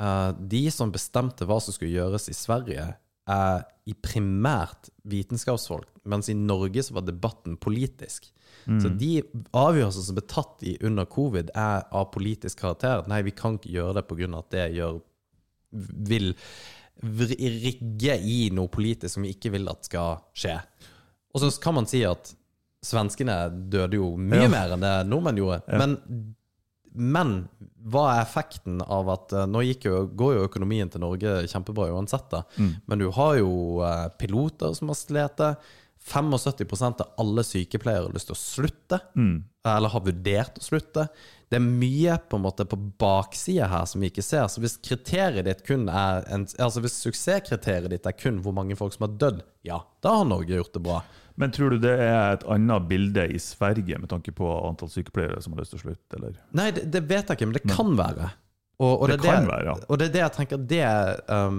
eh, De som bestemte hva som skulle gjøres i Sverige, er i primært vitenskapsfolk, mens i Norge så var debatten politisk. Så de avgjørelser som ble tatt i under covid, er av politisk karakter. Nei, vi kan ikke gjøre det pga. at det gjør Vil vri- rigge i noe politisk som vi ikke vil at skal skje. Og så kan man si at svenskene døde jo mye Ja. mer enn det nordmenn gjorde. Men, men hva er effekten av at eh, Nå gikk jo, går jo økonomien til Norge kjempebra uansett, da. men du har jo eh, piloter som har slitt. 75 av alle sykepleiere har lyst til å slutte, eller har vurdert å slutte. Det er mye på en måte på baksida her som vi ikke ser. Så hvis kriteriet ditt kun er en, altså hvis suksesskriteriet ditt er kun hvor mange folk som har dødd, ja, da har Norge gjort det bra. Men tror du det er et annet bilde i Sverige med tanke på antall sykepleiere som har lyst til å slutte, eller? Nei, det, det vet jeg ikke, men det kan være. Og, og Det er kan være, ja. Og det er det jeg tenker Det, um,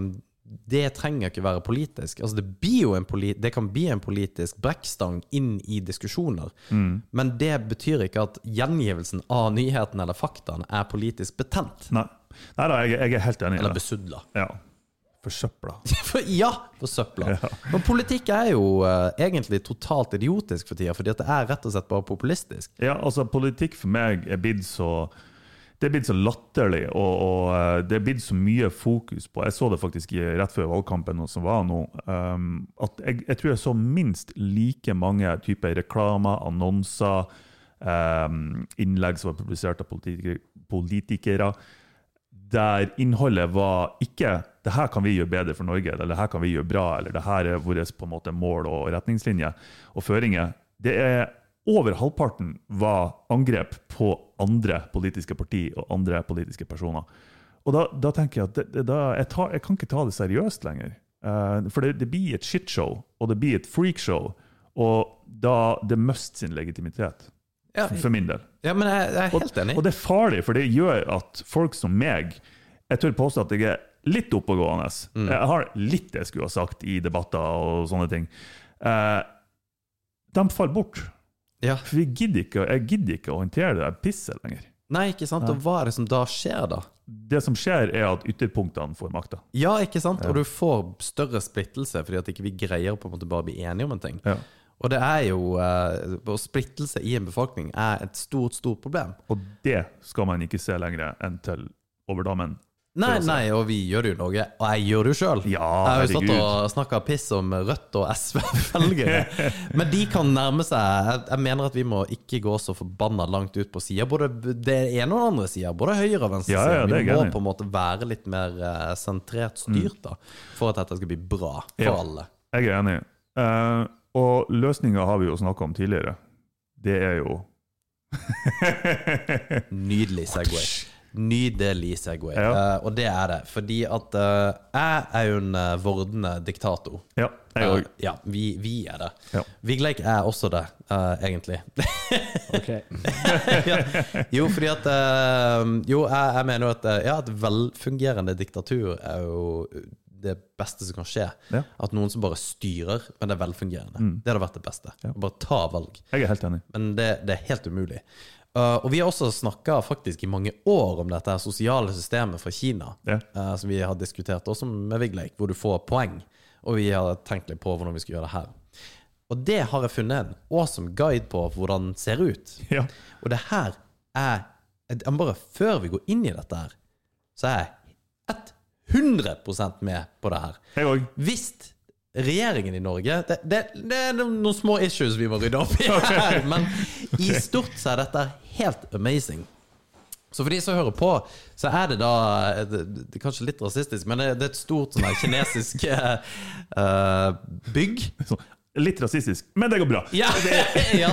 det trenger ikke være politisk. Altså, det, blir jo en poli det kan bli en politisk brekkstang inn i diskusjoner, Mm. men det betyr ikke at gjengivelsen av nyheten eller faktaen er politisk betent. Nei. Nei da, jeg, jeg er helt enig i Eller det. besudla. Ja. Forsøpla. [laughs] For, ja, for søpla. Men politikk er jo eh, egentlig totalt idiotisk for tida, fordi at det er rett og slett bare populistisk. Ja, altså, politikk for meg er blitt så det er blitt så latterlig, og, og eh, det er blitt så mye fokus på Jeg så det faktisk i, rett før valgkampen, og som var nå, ehm, at jeg, jeg tror jeg så minst like mange typer reklamer, annonser, ehm, innlegg som var publisert av politikere, politikere der innholdet var ikke 'det her kan vi gjøre bedre for Norge', eller 'det her kan vi gjøre bra', eller 'det her er våre på en måte mål og retningslinjer og føringer', Det er over halvparten var angrep på andre politiske parti og andre politiske personer. Og da, da tenker jeg at det, det, da, jeg, tar, jeg kan ikke ta det seriøst lenger. Eh, for det, det blir et shitshow, og det blir et freakshow. Og da det mister sin legitimitet, Ja, for min del. ja men jeg, jeg er Og, helt enig. og det er farlig, for det gjør at folk som meg Jeg tør påstå at jeg er litt oppegående. Mm. Jeg har litt det jeg skulle ha sagt i debatter og sånne ting. Eh, de faller bort. Ja. For vi gidder ikke, jeg gidder ikke å håndtere det der pisset lenger. Nei, ikke sant? Og hva er det som da skjer, da? Det som skjer, er at ytterpunktene får makta. Ja, ikke sant? Og du får større splittelse fordi at ikke vi greier på en måte bare å bli enige om en ting. Ja. Og det er jo eh, Og splittelse i en befolkning er et stort, stort problem. Og det skal man ikke se lenger enn til overdammen. Nei, nei, og vi gjør det jo noe, og jeg gjør det jo sjøl. jeg Ja, har jo stått herregud. og snakka piss om Rødt og [laughs] [laughs] SV-velgere. Men de kan nærme seg. Jeg, jeg mener at vi må ikke gå så forbanna langt ut på sida. Både det ene og den andre sida. Både høyre og venstre Ja, side. ja, det er vi må jeg enig i. på en måte være litt mer eh, sentrert styrt, da. For at dette skal bli bra for Mm. Ja. alle. Jeg er enig. Eh, og løsninga har vi jo snakka om tidligere. Det er jo [laughs] Nydelig Segway. Nydelig Segway. Ja. Eh, og det er det. Fordi at eh, jeg er jo en eh, vordende diktator. Ja, jeg òg. Eh, ja, vi, vi er det. Ja. Vigleik er også det, eh, egentlig. [laughs] Ok. ja. Jo, fordi at eh, Jo, jeg, jeg mener jo at eh, ja, et velfungerende diktatur er jo det beste som kan skje. Ja. Mm. At noen som bare styrer, men det er velfungerende. Det hadde vært det beste. Bare ta valg. Jeg er helt enig. Men det, det er helt umulig. Uh, og vi har også snakka faktisk i mange år om dette her sosiale systemet fra Kina, Ja. uh, som vi har diskutert også med Vigleik, hvor du får poeng. Og vi har tenkt litt på hvordan vi skal gjøre det her. Og det har jeg funnet en awesome guide på hvordan det ser ut. Ja. Og det her er jeg- Bare før vi går inn i dette her, så er jeg 100 med på det her. Jeg òg. Hvis regjeringen i Norge det, det, det er noen små issues vi må rydde opp i her, men i stort så er dette helt amazing. Så for de som hører på, så er det da det, det er Kanskje litt rasistisk, men det, det er et stort sånn her kinesisk eh, eh, bygg. Sånn, Litt rasistisk, men det går bra. [laughs] Ja, ja.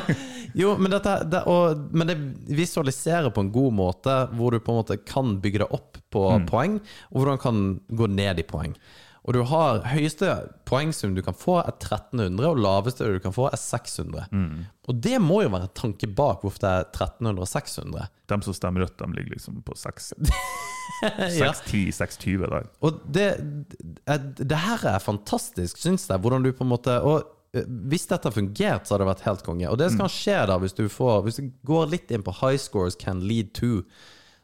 Jo, men, dette, det, og, men det visualiserer på en god måte hvor du på en måte kan bygge det opp på poeng, og hvordan kan gå ned i poeng. Og du har høyeste poengsum du kan få, er 1300, og laveste du kan få, er 600. Og det må jo være en tanke bak hvorfor det er 1300 og 600. De som stemmer rødt, de ligger liksom på 6, [laughs] Ja. 610, 620 der. Og det, eh, det, det her er fantastisk, syns jeg. Hvordan du på en måte Og eh, hvis dette har fungert, så hadde det vært helt konge. Og det Mm. skal skje da hvis du får Hvis du går litt inn på high scores can lead to.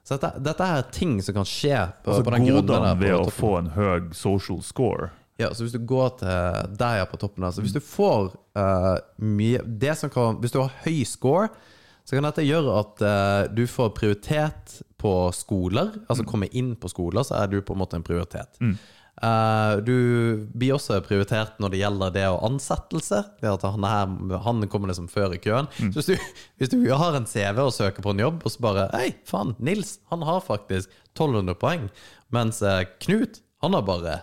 Så dette, dette er ting som kan skje på, Altså, på den grunnen Godene der. på ved å toppen. få en høy social score Ja, så hvis du går til der ja, på toppen der, så hvis du får eh, mye Det som kan Hvis du har høy score, så kan dette gjøre at eh, du får prioritet på skoler. Altså komme inn på skoler, så er du på en måte en prioritet. Eh, du blir også prioritert når det gjelder det å ansettelse. Det at han, er, han kommer liksom før i køen. Så hvis du, hvis du har en CV og søker på en jobb, og så bare Hei, faen, Nils, han har faktisk 1200 poeng, mens eh, Knut han har bare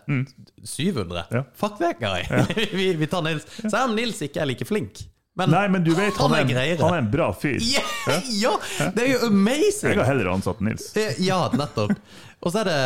700. Mm. Ja. Fuck that guy! [laughs] vi, vi tar Nils. Selv om Nils ikke er like flink. Men, Nei, men du vet, han er, en- greiere. han er en bra fyr. [laughs] Ja, ja! Det er jo amazing! Jeg har heller ansatt Nils. Eh, Ja, nettopp. Og så er det,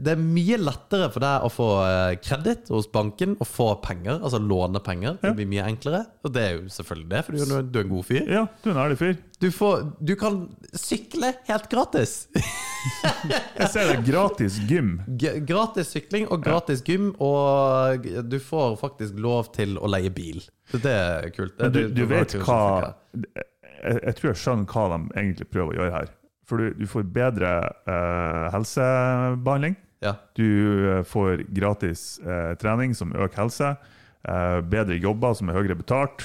det er mye lettere for deg å få eh, kreditt hos banken og få penger, altså låne penger. Det blir mye enklere, og det er jo selvfølgelig det, for du er- du er en god fyr. Ja, du er en ærlig fyr. Du, får, du kan sykle helt gratis. Jeg ser det er gratis gym. G gratis sykling og gratis gym, og g- du får faktisk lov til å leie bil. Så det er kult. Det- Men du, det- du det var vet kult å hva sykle. jeg, jeg tror jeg skjønner hva de egentlig prøver å gjøre her. For du, du får bedre eh, helsebehandling. Ja. Du eh, får gratis eh, trening som øker helse. eh, bedre jobber som er høyere betalt.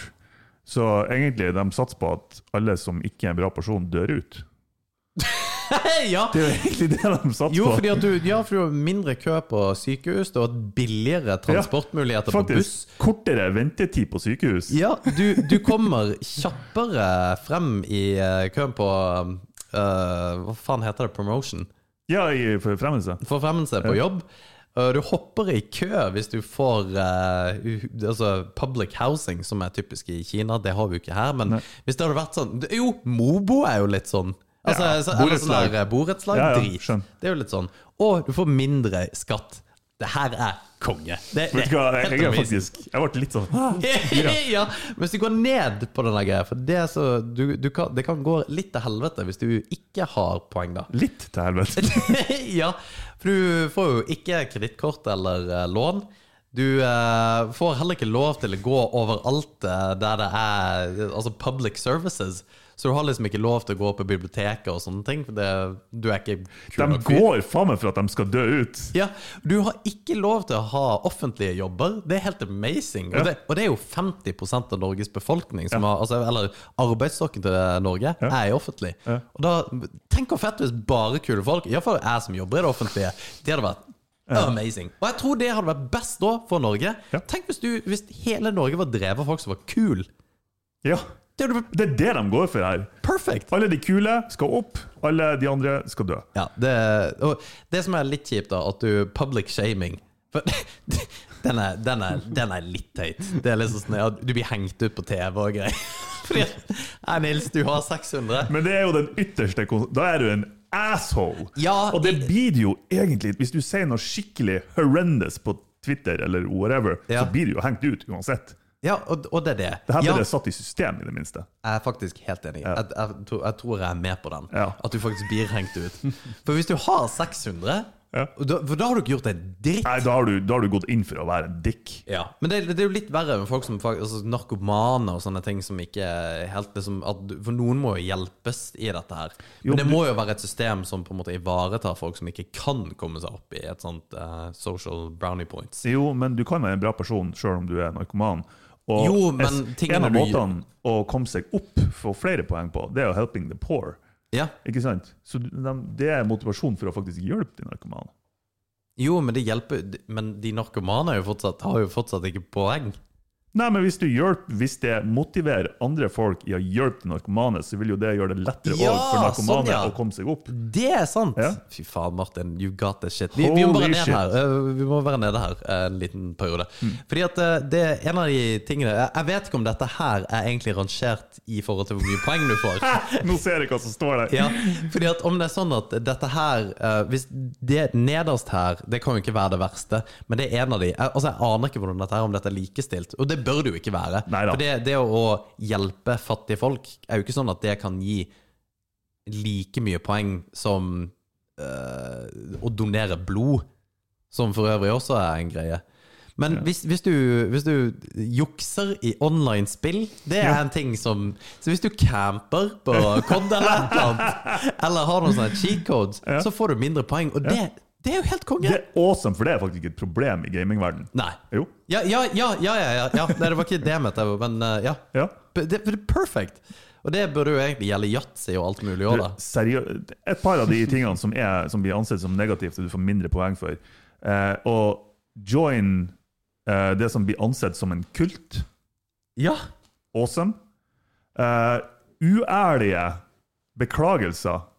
Så egentlig de satser på at alle som ikke er en bra person, dør ut. ja. Det er jo egentlig det de satser Jo, på. fordi at du, ja, for du har mindre kø på sykehus, du har billigere transportmuligheter på Faktisk. buss. Kortere ventetid på sykehus. Ja, du, du kommer kjappere frem i eh, køen på eh, Hva faen heter det? Promotion? Ja, i forfremmelse. Forfremmelse på jobb. Eh, Du hopper i kø hvis du får eh, u- altså public housing, som er typisk i Kina. Det har vi jo ikke her. Men Nei. hvis det hadde vært sånn det- Jo, Mobo er jo litt sånn. Altså, Ja, så, eller sånn borettslag. der, eh, Borettslag. Ja, ja, drit. skjønn. Det er jo litt sånn. Og du får mindre skatt. Det her er konge. Det, det Vet du hva, er jeg, helt jeg, er amazing. Ah. faktisk, jeg ble litt sånn «Hæ?» [laughs] ja, men hvis du går ned på denne greia For det, er så, du, du kan, det kan gå litt til helvete hvis du ikke har poeng, da. Litt til helvete. [laughs] ja, for du får jo ikke kredittkort eller eh, lån. Du eh, får heller ikke lov til å gå overalt eh, der det er altså public services. Så du har liksom ikke lov til å gå på biblioteket og sånne ting. For det, du er ikke [laughs] kul De nok fyr. går faen meg for at de skal dø ut. Ja, Du har ikke lov til å ha offentlige jobber. Det er helt amazing. Og, det, og det er jo 50 av Norges befolkning, som har, altså, eller arbeidsstokken til eh, Norge, er i offentlig. Og da, Tenk hvor fett hvis bare kule folk, iallfall jeg som jobber i det offentlige, det hadde vært Amazing. Og jeg tror det hadde vært best da for Norge. Ja. Tenk hvis, du, hvis hele Norge var drevet av folk som var kule. Ja, Det hadde vært Det er det de går for her. perfekt! Alle de kule skal opp, alle de andre skal dø. Ja, det, og det som er litt kjipt, da, at du Public shaming. For [laughs] den er, den er, den er litt teit. Det er liksom sånn, ja, Du blir hengt ut på TV og greier. [laughs] Fordi at, Nei, Nils, du har 600. Men det er jo den ytterste kon- Da er du en asshole. Ja, og det i- blir det jo egentlig Hvis du sier noe skikkelig horrendous på Twitter, eller whatever, Ja. så blir du jo hengt ut uansett. Ja, og, og det er det. Det her ja, ble det satt i system, i det minste. jeg er faktisk helt enig. Jeg, jeg, tror- jeg tror jeg er med på den. Ja. At du faktisk blir hengt ut. For hvis du har 600, Ja. og da, for da har du ikke gjort en dritt. Nei, da har, du, da har du gått inn for å være en dick. Ja, Men det, det er jo litt verre med folk som fak- altså, narkomane og sånne ting som ikke er helt liksom, at, du- For noen må jo hjelpes i dette her. Men Jo, det men- må jo være et system som på en måte ivaretar folk som ikke kan komme seg opp i et sånt eh, social brownie points. Jo, men du kan være en bra person sjøl om du er narkoman. Og Jo, men es- tingene en av du- måtene å komme seg opp, få flere poeng på, det er jo 'helping the poor'. Ja, Ikke sant? Så de, det er motivasjon for å faktisk hjelpe de narkomane. Jo, men det hjelper Men de narkomane er jo fortsatt, har jo fortsatt ikke poeng. Nei, men hvis, du hjelper, hvis det motiverer andre folk i å hjelpe de narkomane, så vil jo det gjøre det lettere Ja, også for narkomane sånn, ja. å komme seg opp. Det er sant! Ja. Fy faen, Martin. You got the shit. Vi, vi må bare Holy ned shit. Mm. her. Eh, Vi må være nede her eh, en liten periode. Fordi at eh, det er en av de tingene Jeg jeg vet ikke om dette her er egentlig rangert i forhold til hvor mye poeng du får. [laughs] Nå ser jeg hva som står der. Ja, fordi at om det er sånn at dette her eh, Hvis det nederst her Det kan jo ikke være det verste, men det er en av de jeg, Altså Jeg aner ikke hvordan dette er, om dette er likestilt. Og det bør det jo ikke være. Neida. For det, det å hjelpe fattige folk er jo ikke sånn at det kan gi like mye poeng som eh, å donere blod, som for øvrig også er en greie. Men hvis, hvis, du, hvis du jukser i online spill, det er en ting som Så hvis du camper på COD eller et eller annet, eller har noen sånne cheat codes, så får du mindre poeng. Og det, det er jo helt konge! Det er awesome, for det er faktisk ikke et problem i gamingverden. Nei. Jo. Ja, ja, ja, ja, ja, ja, ja. Nei, det var ikke det jeg mente, men eh, ja. Ja. Det, det er perfekt! Og det burde jo egentlig gjelde yatzy og alt mulig òg, da. Seriø et par av de tingene som, er, som blir ansett som negativt, og du får mindre poeng for. Eh, og join eh, det som blir ansett som en kult. Ja. Awesome. Eh, uærlige beklagelser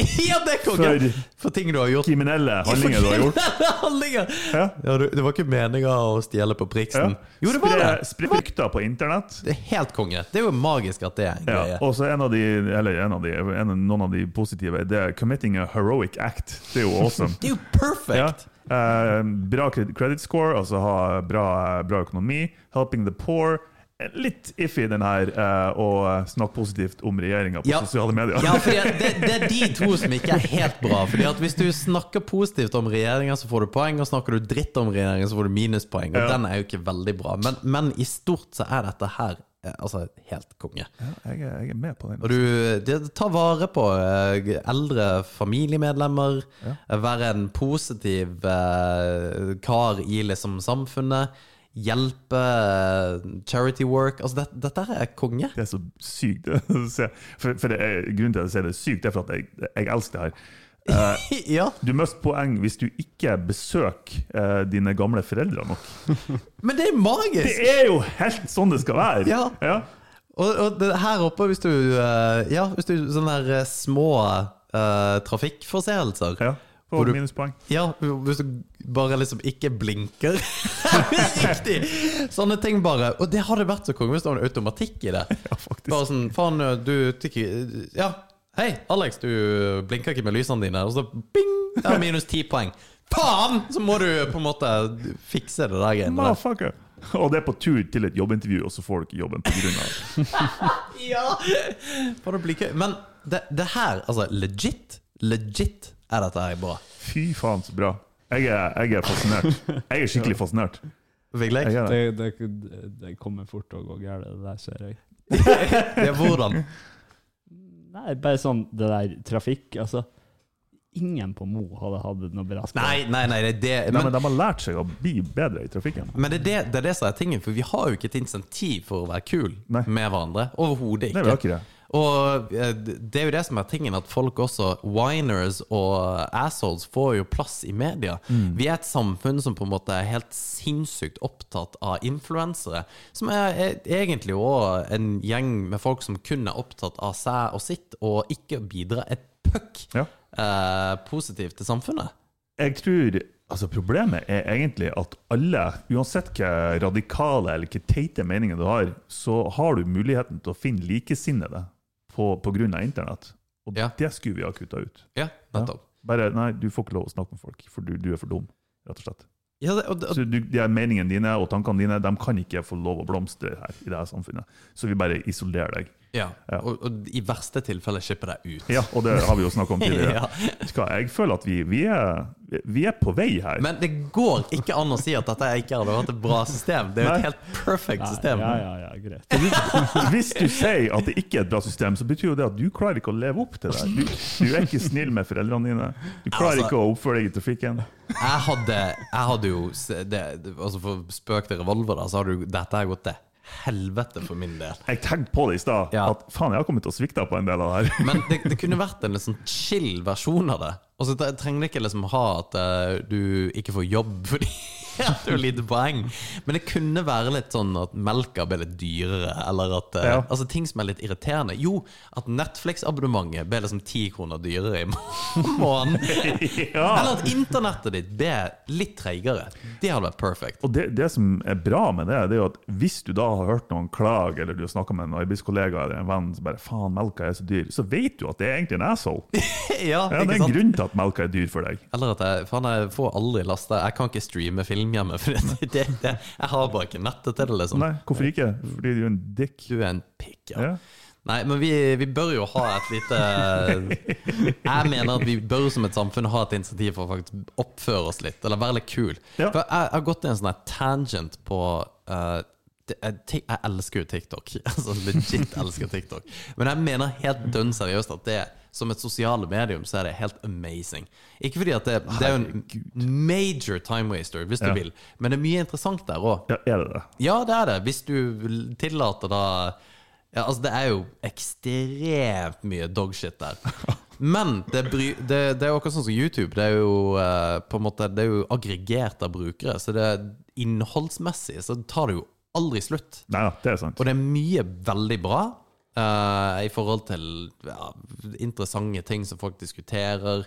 [laughs] ja, det er for konge! For ting du har gjort. kriminelle handlinger du har gjort. handlinger. [laughs] Ja. Ja, du, det var ikke meninga å stjele på Priksen. Jo, det var det! Spre- Spre rykter på internett. Det er helt konge. Det er jo magisk at det er en Ja, greie. og så en av de, eller en av de, en, av- noen av de positive, det er 'committing a heroic act'. Det er [laughs] jo awesome. Det er jo Ja. perfekt! Eh, bra cred- credit score, altså ha bra, bra økonomi. Helping the poor. Eh, Litt iffy den her eh, å snakke positivt om regjeringa på Ja. sosiale medier. Ja, fordi at det, det er de to som ikke er helt bra. Fordi at Hvis du snakker positivt om regjeringa, så får du poeng. Og snakker du dritt om regjeringa, så får du minuspoeng. Og Ja. den er jo ikke veldig bra. Men, men i stort så er dette her eh, altså helt konge. [laughs] Jeg, er, jeg er med på den. Og du det- Ta vare på eh, eldre familiemedlemmer. eh, Være en positiv eh, kar i liksom samfunnet. Hjelpe eh, charity work. Altså, det, dette her er konge. Det er så sykt. [laughs] å se. for, for det er, grunnen til at jeg sier det er sykt, det er for at jeg, jeg elsker det her. Eh, Ja, Du mister poeng hvis du ikke besøker eh, dine gamle foreldre nok. Men det er magisk! Det er jo helt sånn det skal være! Ja. Og, og det, her oppe, hvis du eh, Ja, hvis du sånne der eh, små eh, trafikkforseelser Ja. Hvor På du- minuspoeng. Ja, hvis du bare liksom ikke blinker. [laughs] Riktig! Sånne ting bare. Og det hadde vært så konge hvis det var en automatikk i det. [laughs] Ja, faktisk. Bare sånn, faen, du tykker Ja, hei, Alex, du blinker ikke med lysene dine. Og så bing! Ja, minus ti poeng. Faen! Så må du på en måte fikse det der greiene [laughs] der. Motherfucker. Og det er på tur til et jobbintervju, og så får du ikke jobben pga. det. Ja! Får det bli kø. Men det, det her, altså legit, legit er dette her bra. Fy faen, så bra. Jeg er, jeg er fascinert. Jeg er skikkelig fascinert. Vigleg? Jeg er det. Det, det, det kommer fort til å gå galt, det der ser jeg. Ja, hvordan? Nei, bare sånn det der trafikk, altså. Ingen på Mo hadde hatt noe beredskap. Nei, nei, nei, det er det Nei, men, men de har lært seg å bli bedre i trafikken. men det er det, det er det som er tingen, for vi har jo ikke et insentiv for å være kul Nei. med hverandre. Overhodet Nei, vi har ikke. ikke det. Og eh, det er jo det som er tingen, at folk også, winers og assholes, får jo plass i media. Mm. Vi er et samfunn som på en måte er helt sinnssykt opptatt av influensere. Som er, er egentlig òg en gjeng med folk som kun er opptatt av seg og sitt, og ikke bidrar et puck Ja. eh, positivt til samfunnet. Jeg tror Altså, Problemet er egentlig at alle, uansett hva radikale eller hva teite meninger du har, så har du muligheten til å finne likesinnede på, på grunn av internett. Og Ja. det skulle vi ha kutta ut. Ja, nettopp. Bare nei, du får ikke lov å snakke med folk, for du, du er for dum. rett og slett. Ja, det, og, og, Så du, de her Meningene dine og tankene dine de kan ikke få lov å blomstre her i det her samfunnet. Så vi bare isolerer deg. ja. Ja. Og, og i verste tilfelle skipper deg ut. Ja, Og det har vi jo snakka [laughs] om tidligere. Ja. Skal jeg føler at vi, vi, er, vi er på vei her. Men det går ikke an å si at dette ikke hadde vært et bra system. Det er jo Nei. et helt perfect system. Ja, ja, ja, greit. Hvis du sier at det ikke er et bra system, så betyr jo det at du klarer ikke å leve opp til det. Du, du er ikke snill med foreldrene dine. Du klarer Altså- ikke å oppføre deg i trafikken. Jeg hadde, jeg hadde jo se- det, altså For spøk til revolver, da, så hadde jo dette her gått til helvete for min del. Jeg tenkte på det i stad, Ja. at faen, jeg har kommet til å svikte på en del av det her. [laughs] Men det, det kunne vært en litt sånn chill versjon av det. Og så tre- trenger det ikke liksom ha at eh, du ikke får jobb fordi [laughs] at du har lite poeng. Men det kunne være litt sånn at melka ble litt dyrere, eller at eh, Ja. Altså ting som er litt irriterende. Jo, at Netflix-abonnementet ble liksom ti kroner dyrere i må- [laughs] måneden. Eller Ja. at internettet ditt ble litt treigere. Det hadde vært perfect. [laughs] Og det, det som er bra med det, det er jo at hvis du da har hørt noen klage, eller du har snakka med en arbeidskollega eller en venn som bare 'faen, melka er så dyr', så vet du at det er egentlig en asshole. [laughs] Ja, Ja, ikke det er en sant? grunn til at melka er dyr for deg. Eller at jeg, faen, jeg får aldri lasta Jeg kan ikke streame film hjemme, for det, [laughs] det, det, jeg har bare ikke nettet til det. liksom Nei, hvorfor ikke? Fordi du er en dick. Du er en pikk, ja. Ja. Nei, men vi, vi bør jo ha et lite [laughs] Jeg mener at vi bør som et samfunn ha et insentiv for å faktisk oppføre oss litt, eller være litt kul. Ja. For jeg, jeg har gått i en sånn her tangent på eh, det, jeg, ti- jeg elsker jo TikTok. [laughs] Altså legit elsker TikTok. Men jeg mener helt dønn seriøst at det som et sosiale medium så er det helt amazing. Ikke fordi at det, det er jo en major time waster, hvis du Ja. vil, men det er mye interessant der òg. ja, er det det? Ja, det er det. Hvis du l- tillater da ja, Altså, det er jo ekstremt mye dogshit der. Men det, bry, det, det er jo akkurat sånn som YouTube. Det er jo eh, på en måte Det er jo aggregert av brukere. Så det innholdsmessig så tar det jo aldri slutt. Nei da, det er sant. Og det er mye veldig bra eh, i forhold til ja, interessante ting som folk diskuterer.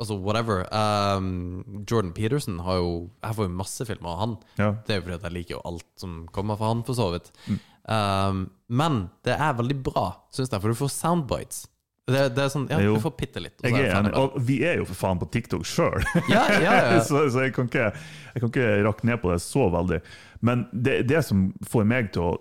Altså whatever. Um, Jordan Peterson har jo Jeg får jo masse filmer av han. Ja. Det er jo fordi at jeg liker jo alt som kommer fra han, for så vidt. Mm. Um, men det er veldig bra, syns jeg, for du får soundbites. Det, det er sånn, ja, Jo. Du får bitte litt. og så Jeg er ferdig enig. med det. Og vi er jo for faen på TikTok sjøl, Ja, [laughs] ja, ja. så, så jeg, kan ikke, jeg kan ikke rakke ned på det så veldig. Men det, det som får meg til å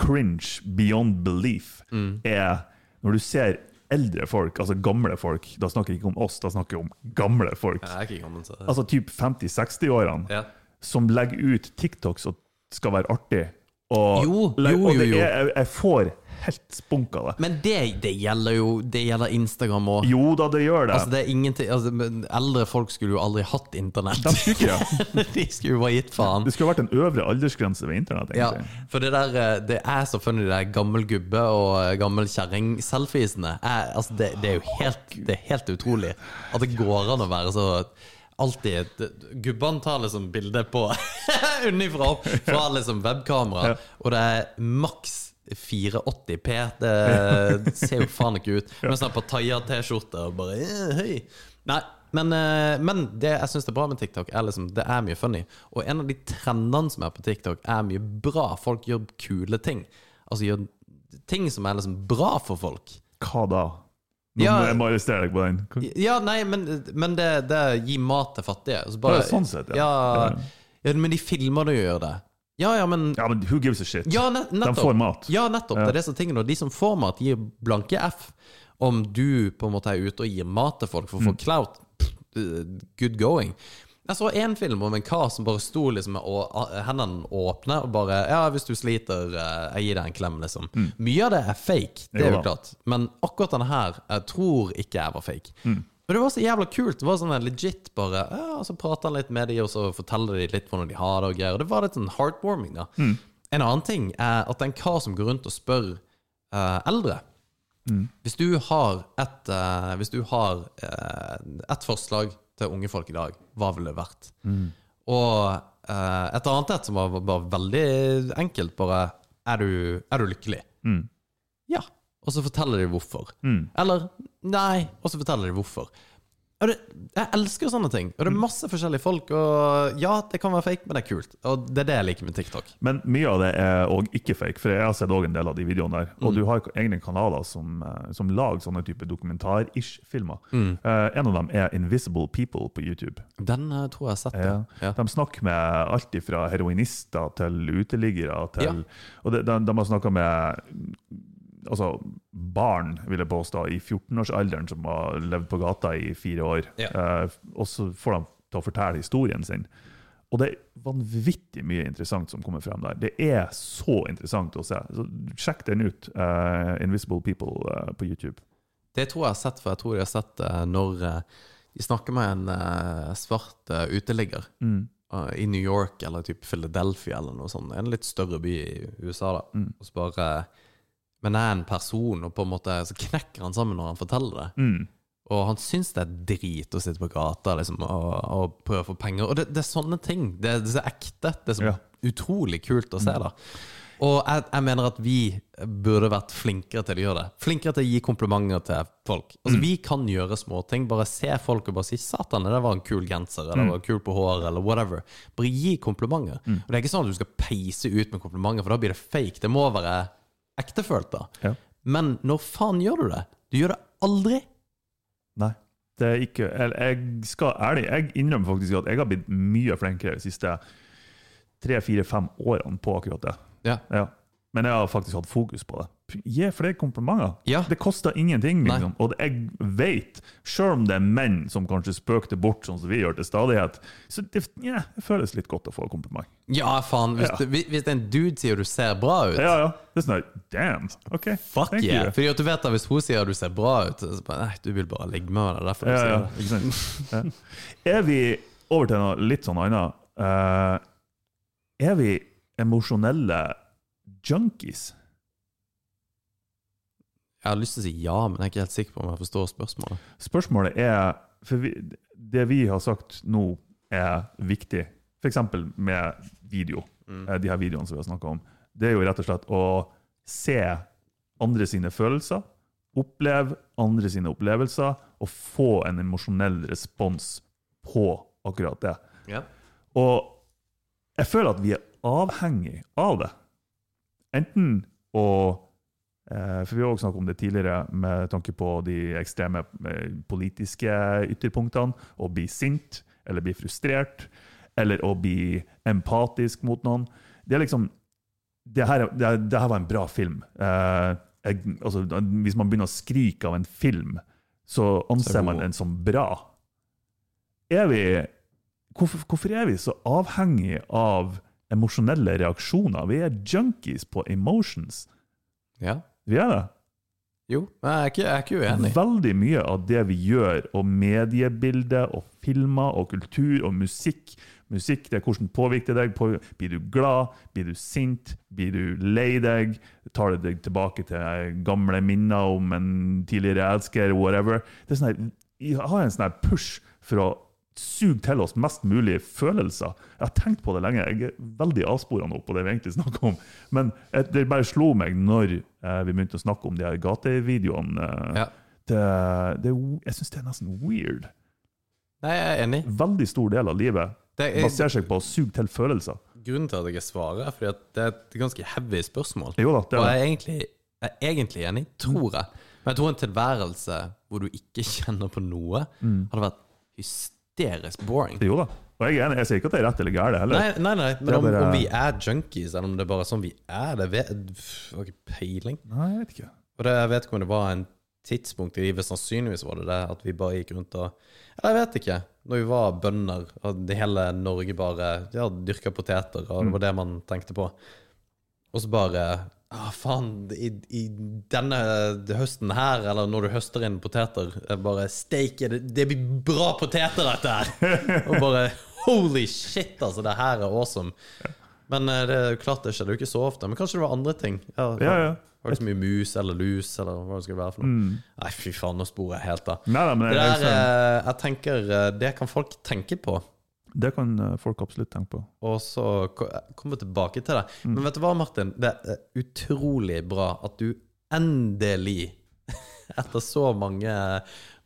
cringe beyond belief, Mm. er når du ser eldre folk, altså gamle folk Da snakker jeg ikke om oss, da snakker jeg om gamle folk. Jeg er ikke gammel, så Altså typ 50-60-årene, ja. som legger ut TikTok som skal være artig. Og, Jo, leg- jo, og det jo, jo. Er, jeg, jeg får helt spunk av det. Men det, det gjelder jo Det gjelder Instagram òg. Jo da, det gjør det. Altså, det er ingenting altså, men Eldre folk skulle jo aldri hatt internett. De skulle ikke det. [laughs] De skulle jo bare gitt faen. Det skulle vært en øvre aldersgrense ved internett. Ja, egentlig. for det der eh, Det er så funny, det der gammel gubbe og eh, gammel kjerring-selfiesene. Er- Altså, det, det er jo helt, det er helt utrolig at det går an å være så Alltid det- Gubbene tar liksom bilde på [laughs] unnifra opp fra liksom webkamera, og det er maks 480p. sånn Det ser jo faen ikke ut. Mens han på taia T-skjorte og bare eh, Hei. Nei, Men, eh, men det jeg syns er bra med TikTok, er liksom det er mye funny. Og en av de trendene som er på TikTok, er mye bra. Folk gjør kule ting. Altså gjør ting som er liksom bra for folk. Hva da? Nå Ja. må jeg må arrestere deg på den. Hva- Ja, nei, men, men det, det gir mat til fattige. Så bare- Ja, sånn sett, ja. Ja, ja, men de filmer det og gjør det. Ja, ja, men Ja, men who gives a shit? Ja, net, nettopp. får mat. Ja, nettopp. Det er disse tingene. Og de som får mat, gir blanke F. Om du på en måte er ute og gir mat til folk for Mm. å få clout, pff, eh, good going. Jeg så en film om en kar som bare sto liksom med å, a- hendene åpne og bare Ja, hvis du sliter, eh, jeg gir deg en klem, liksom. Mye av det er fake, det er Mm. Jo jo da. klart. Men akkurat denne her jeg tror ikke jeg var fake. Men det var så jævla kult. Det var sånn der legit bare ja, og Så prater han litt med de, og så forteller de litt hvordan de har det og greier. Og det var litt sånn heartwarming, da. En annen ting er at det er en kar som går rundt og spør eh, eldre Hvis du har et, eh, hvis du har, eh, et forslag til unge folk i dag, hva ville det vært? Og eh, et annet et som var, var veldig enkelt, bare Er du, er du lykkelig? Ja. Og så forteller de hvorfor. Eller nei, og så forteller de hvorfor. Og det, jeg elsker sånne ting. Og det er masse forskjellige folk. Og ja, det kan være fake, men det er kult. Og det er det jeg liker med TikTok. Men mye av det er òg ikke fake, for jeg har sett også en del av de videoene der. Mm. Og du har egne kanaler som, eh, som lager sånne type dokumentar-ish-filmer. Mm. Eh, en av dem er Invisible People på YouTube. Den eh, tror jeg har sett. Ja. Ja. De snakker med alt fra heroinister til uteliggere. Til, Ja. Og de, de, de har snakka med altså, barn, vil jeg påstå, i 14-årsalderen som har levd på gata i fire år. Ja. Eh, og så får de til å fortelle historien sin. Og det er vanvittig mye interessant som kommer frem der. Det er så interessant å se. Så sjekk den ut. eh, Invisible People eh, på YouTube. Det tror jeg har sett, for jeg tror de har sett eh, når eh, de snakker med en eh, svart eh, uteligger eh, i New York eller typ Philadelphia eller noe sånt, en litt større by i USA, da. Og så bare Men jeg er en person, og på en måte så knekker han sammen når han forteller det. Mm. Og han syns det er drit å sitte på gata liksom, og, og prøve å få penger. Og det, det er sånne ting. Det, er- det er så ekte. Det er så Ja. Mm. utrolig kult å se, da. Og jeg, jeg mener at vi burde vært flinkere til å gjøre det. Flinkere til å gi komplimenter til folk. Mm. Altså, Vi kan gjøre småting. Bare se folk og bare si 'Satan, det der var en kul genser', Mm. eller 'det var kul på håret', eller whatever. Bare gi komplimenter. Og Det er ikke sånn at du skal peise ut med komplimenter, for da blir det fake. Det må være ektefølt, da. Ja. Men når faen gjør du det? Du gjør det aldri. Nei. Det er ikke eller Jeg skal ærlig, jeg innrømmer faktisk at jeg har blitt mye flinkere de siste tre, fire, fem årene på akkurat det. Ja. Ja. Men jeg har faktisk hatt fokus på det. Gi flere komplimenter. Ja. Det koster ingenting. Nei. Liksom. Og jeg vet, sjøl om det er menn som kanskje spøker det bort, sånn som vi gjør til stadighet, så det, ja, det føles litt godt å få kompliment. Ja, faen. Hvis, Ja. du- hvis det er en dude sier du ser bra ut, Ja, ja. Det er sånn her, damn. OK. Fuck thank yeah. you. Fordi at du vet at Hvis hun sier du ser bra ut, så bare, nei, du vil bare ligge med henne. det er derfor du Ja, ja, sier det. ikke sant? Ja. Er vi over til noe litt sånn annet? eh, er vi emosjonelle junkies? Jeg har lyst til å si ja, men jeg er ikke helt sikker på om jeg forstår spørsmålet. Spørsmålet er For vi, det vi har sagt nå, er viktig. F.eks. med video. eh, de her videoene som vi har snakka om. Det er jo rett og slett å se andre sine følelser. Oppleve andre sine opplevelser og få en emosjonell respons på akkurat det. Ja. Og jeg føler at vi er avhengig av det. Enten å eh, For vi har også snakket om det tidligere med tanke på de ekstreme eh, politiske ytterpunktene. Å bli sint eller bli frustrert eller å bli empatisk mot noen. Det er liksom Det her, er- det, her- det her var en bra film. Eh, jeg, altså, hvis man begynner å skrike av en film, så anser man den som bra. Er vi hvorfor, hvorfor er vi så avhengig av emosjonelle reaksjoner? Vi er junkies på emotions. ja. Vi er det. Jo, men jeg er ikke, jeg er ikke uenig. Veldig mye av det vi gjør, og mediebildet, og filmer, og kultur, og musikk Musikk det er hvordan påvirker det deg. På- Blir du glad? Blir du sint? Blir du lei deg? Tar det deg tilbake til gamle minner om en tidligere elsker? Whatever. Det er sånn her, jeg har en sånn her push for å suge til oss mest mulig følelser. Jeg har tenkt på det lenge. Jeg er veldig avspora nå på det vi egentlig snakker om. Men eh, det bare slo meg når eh, vi begynte å snakke om de her gatevideoene. eh, Ja. det, det, er- jeg syns det er nesten weird. Nei, jeg er enig. Veldig stor del av livet Det er, baserer seg på å suge til følelser. grunnen til at jeg svarer, er fordi at det er et ganske heavy spørsmål. Jo da, det Og er jeg det. er egentlig, jeg er egentlig enig, tror jeg. Men jeg tror en tilværelse hvor du ikke [laughs] kjenner på noe, Mm. hadde vært hysterisk boring. Jo da. Og jeg er enig, jeg sier ikke at det er rett eller gærent heller. Nei, nei, nei, men Det er om, bare- om vi er junkies, eller om det er bare sånn vi er, det vet pff, jeg har ikke peiling. Nei, jeg vet ikke. Og det, jeg vet ikke om det var en tidspunkt i livet, sannsynligvis var det det, at vi bare gikk rundt og Eller jeg vet ikke. Når vi var bønder, og det hele Norge bare ja, dyrka poteter, Mm. og det var det man tenkte på. Og så bare ah, faen, i, i denne høsten her, eller når du høster inn poteter, jeg bare steike, det, det blir bra poteter, dette [laughs] her! Og bare holy shit, altså, det her er awesome. Men eh, det er jo klart det skjedde jo ikke så ofte. Men kanskje det var andre ting. Ja, Ja, ja. Var det så mye mus eller lus eller hva det skulle være for noe? Nei, fy faen, nå sporer jeg helt av. Mm. Nei, nei, sånn. men Det jeg, jeg, der, eh, jeg tenker eh, Det kan folk tenke på, det kan eh, folk absolutt tenke på. og så ko- eh, komme tilbake til det. Mm. Men vet du hva, Martin? Det er utrolig bra at du endelig, [laughs] etter så mange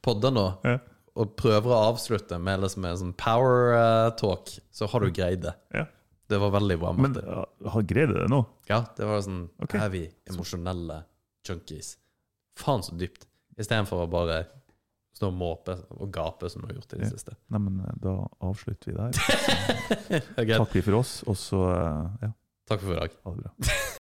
podder nå, Ja. og prøver å avslutte med liksom en sånn power eh, talk, så har du greid det. Ja. Det var veldig bra, Men Martin. ja, har greid jeg det nå? Ja, det var sånn Ok. Er vi emosjonelle junkies? Faen så dypt. Istedenfor å bare stå og måpe og gape, som du har gjort i det Ja. siste. [laughs] Nei, men eh, da avslutter vi der. Ok, Takker vi for oss, og så eh, ja, Takk for i dag. ha det bra.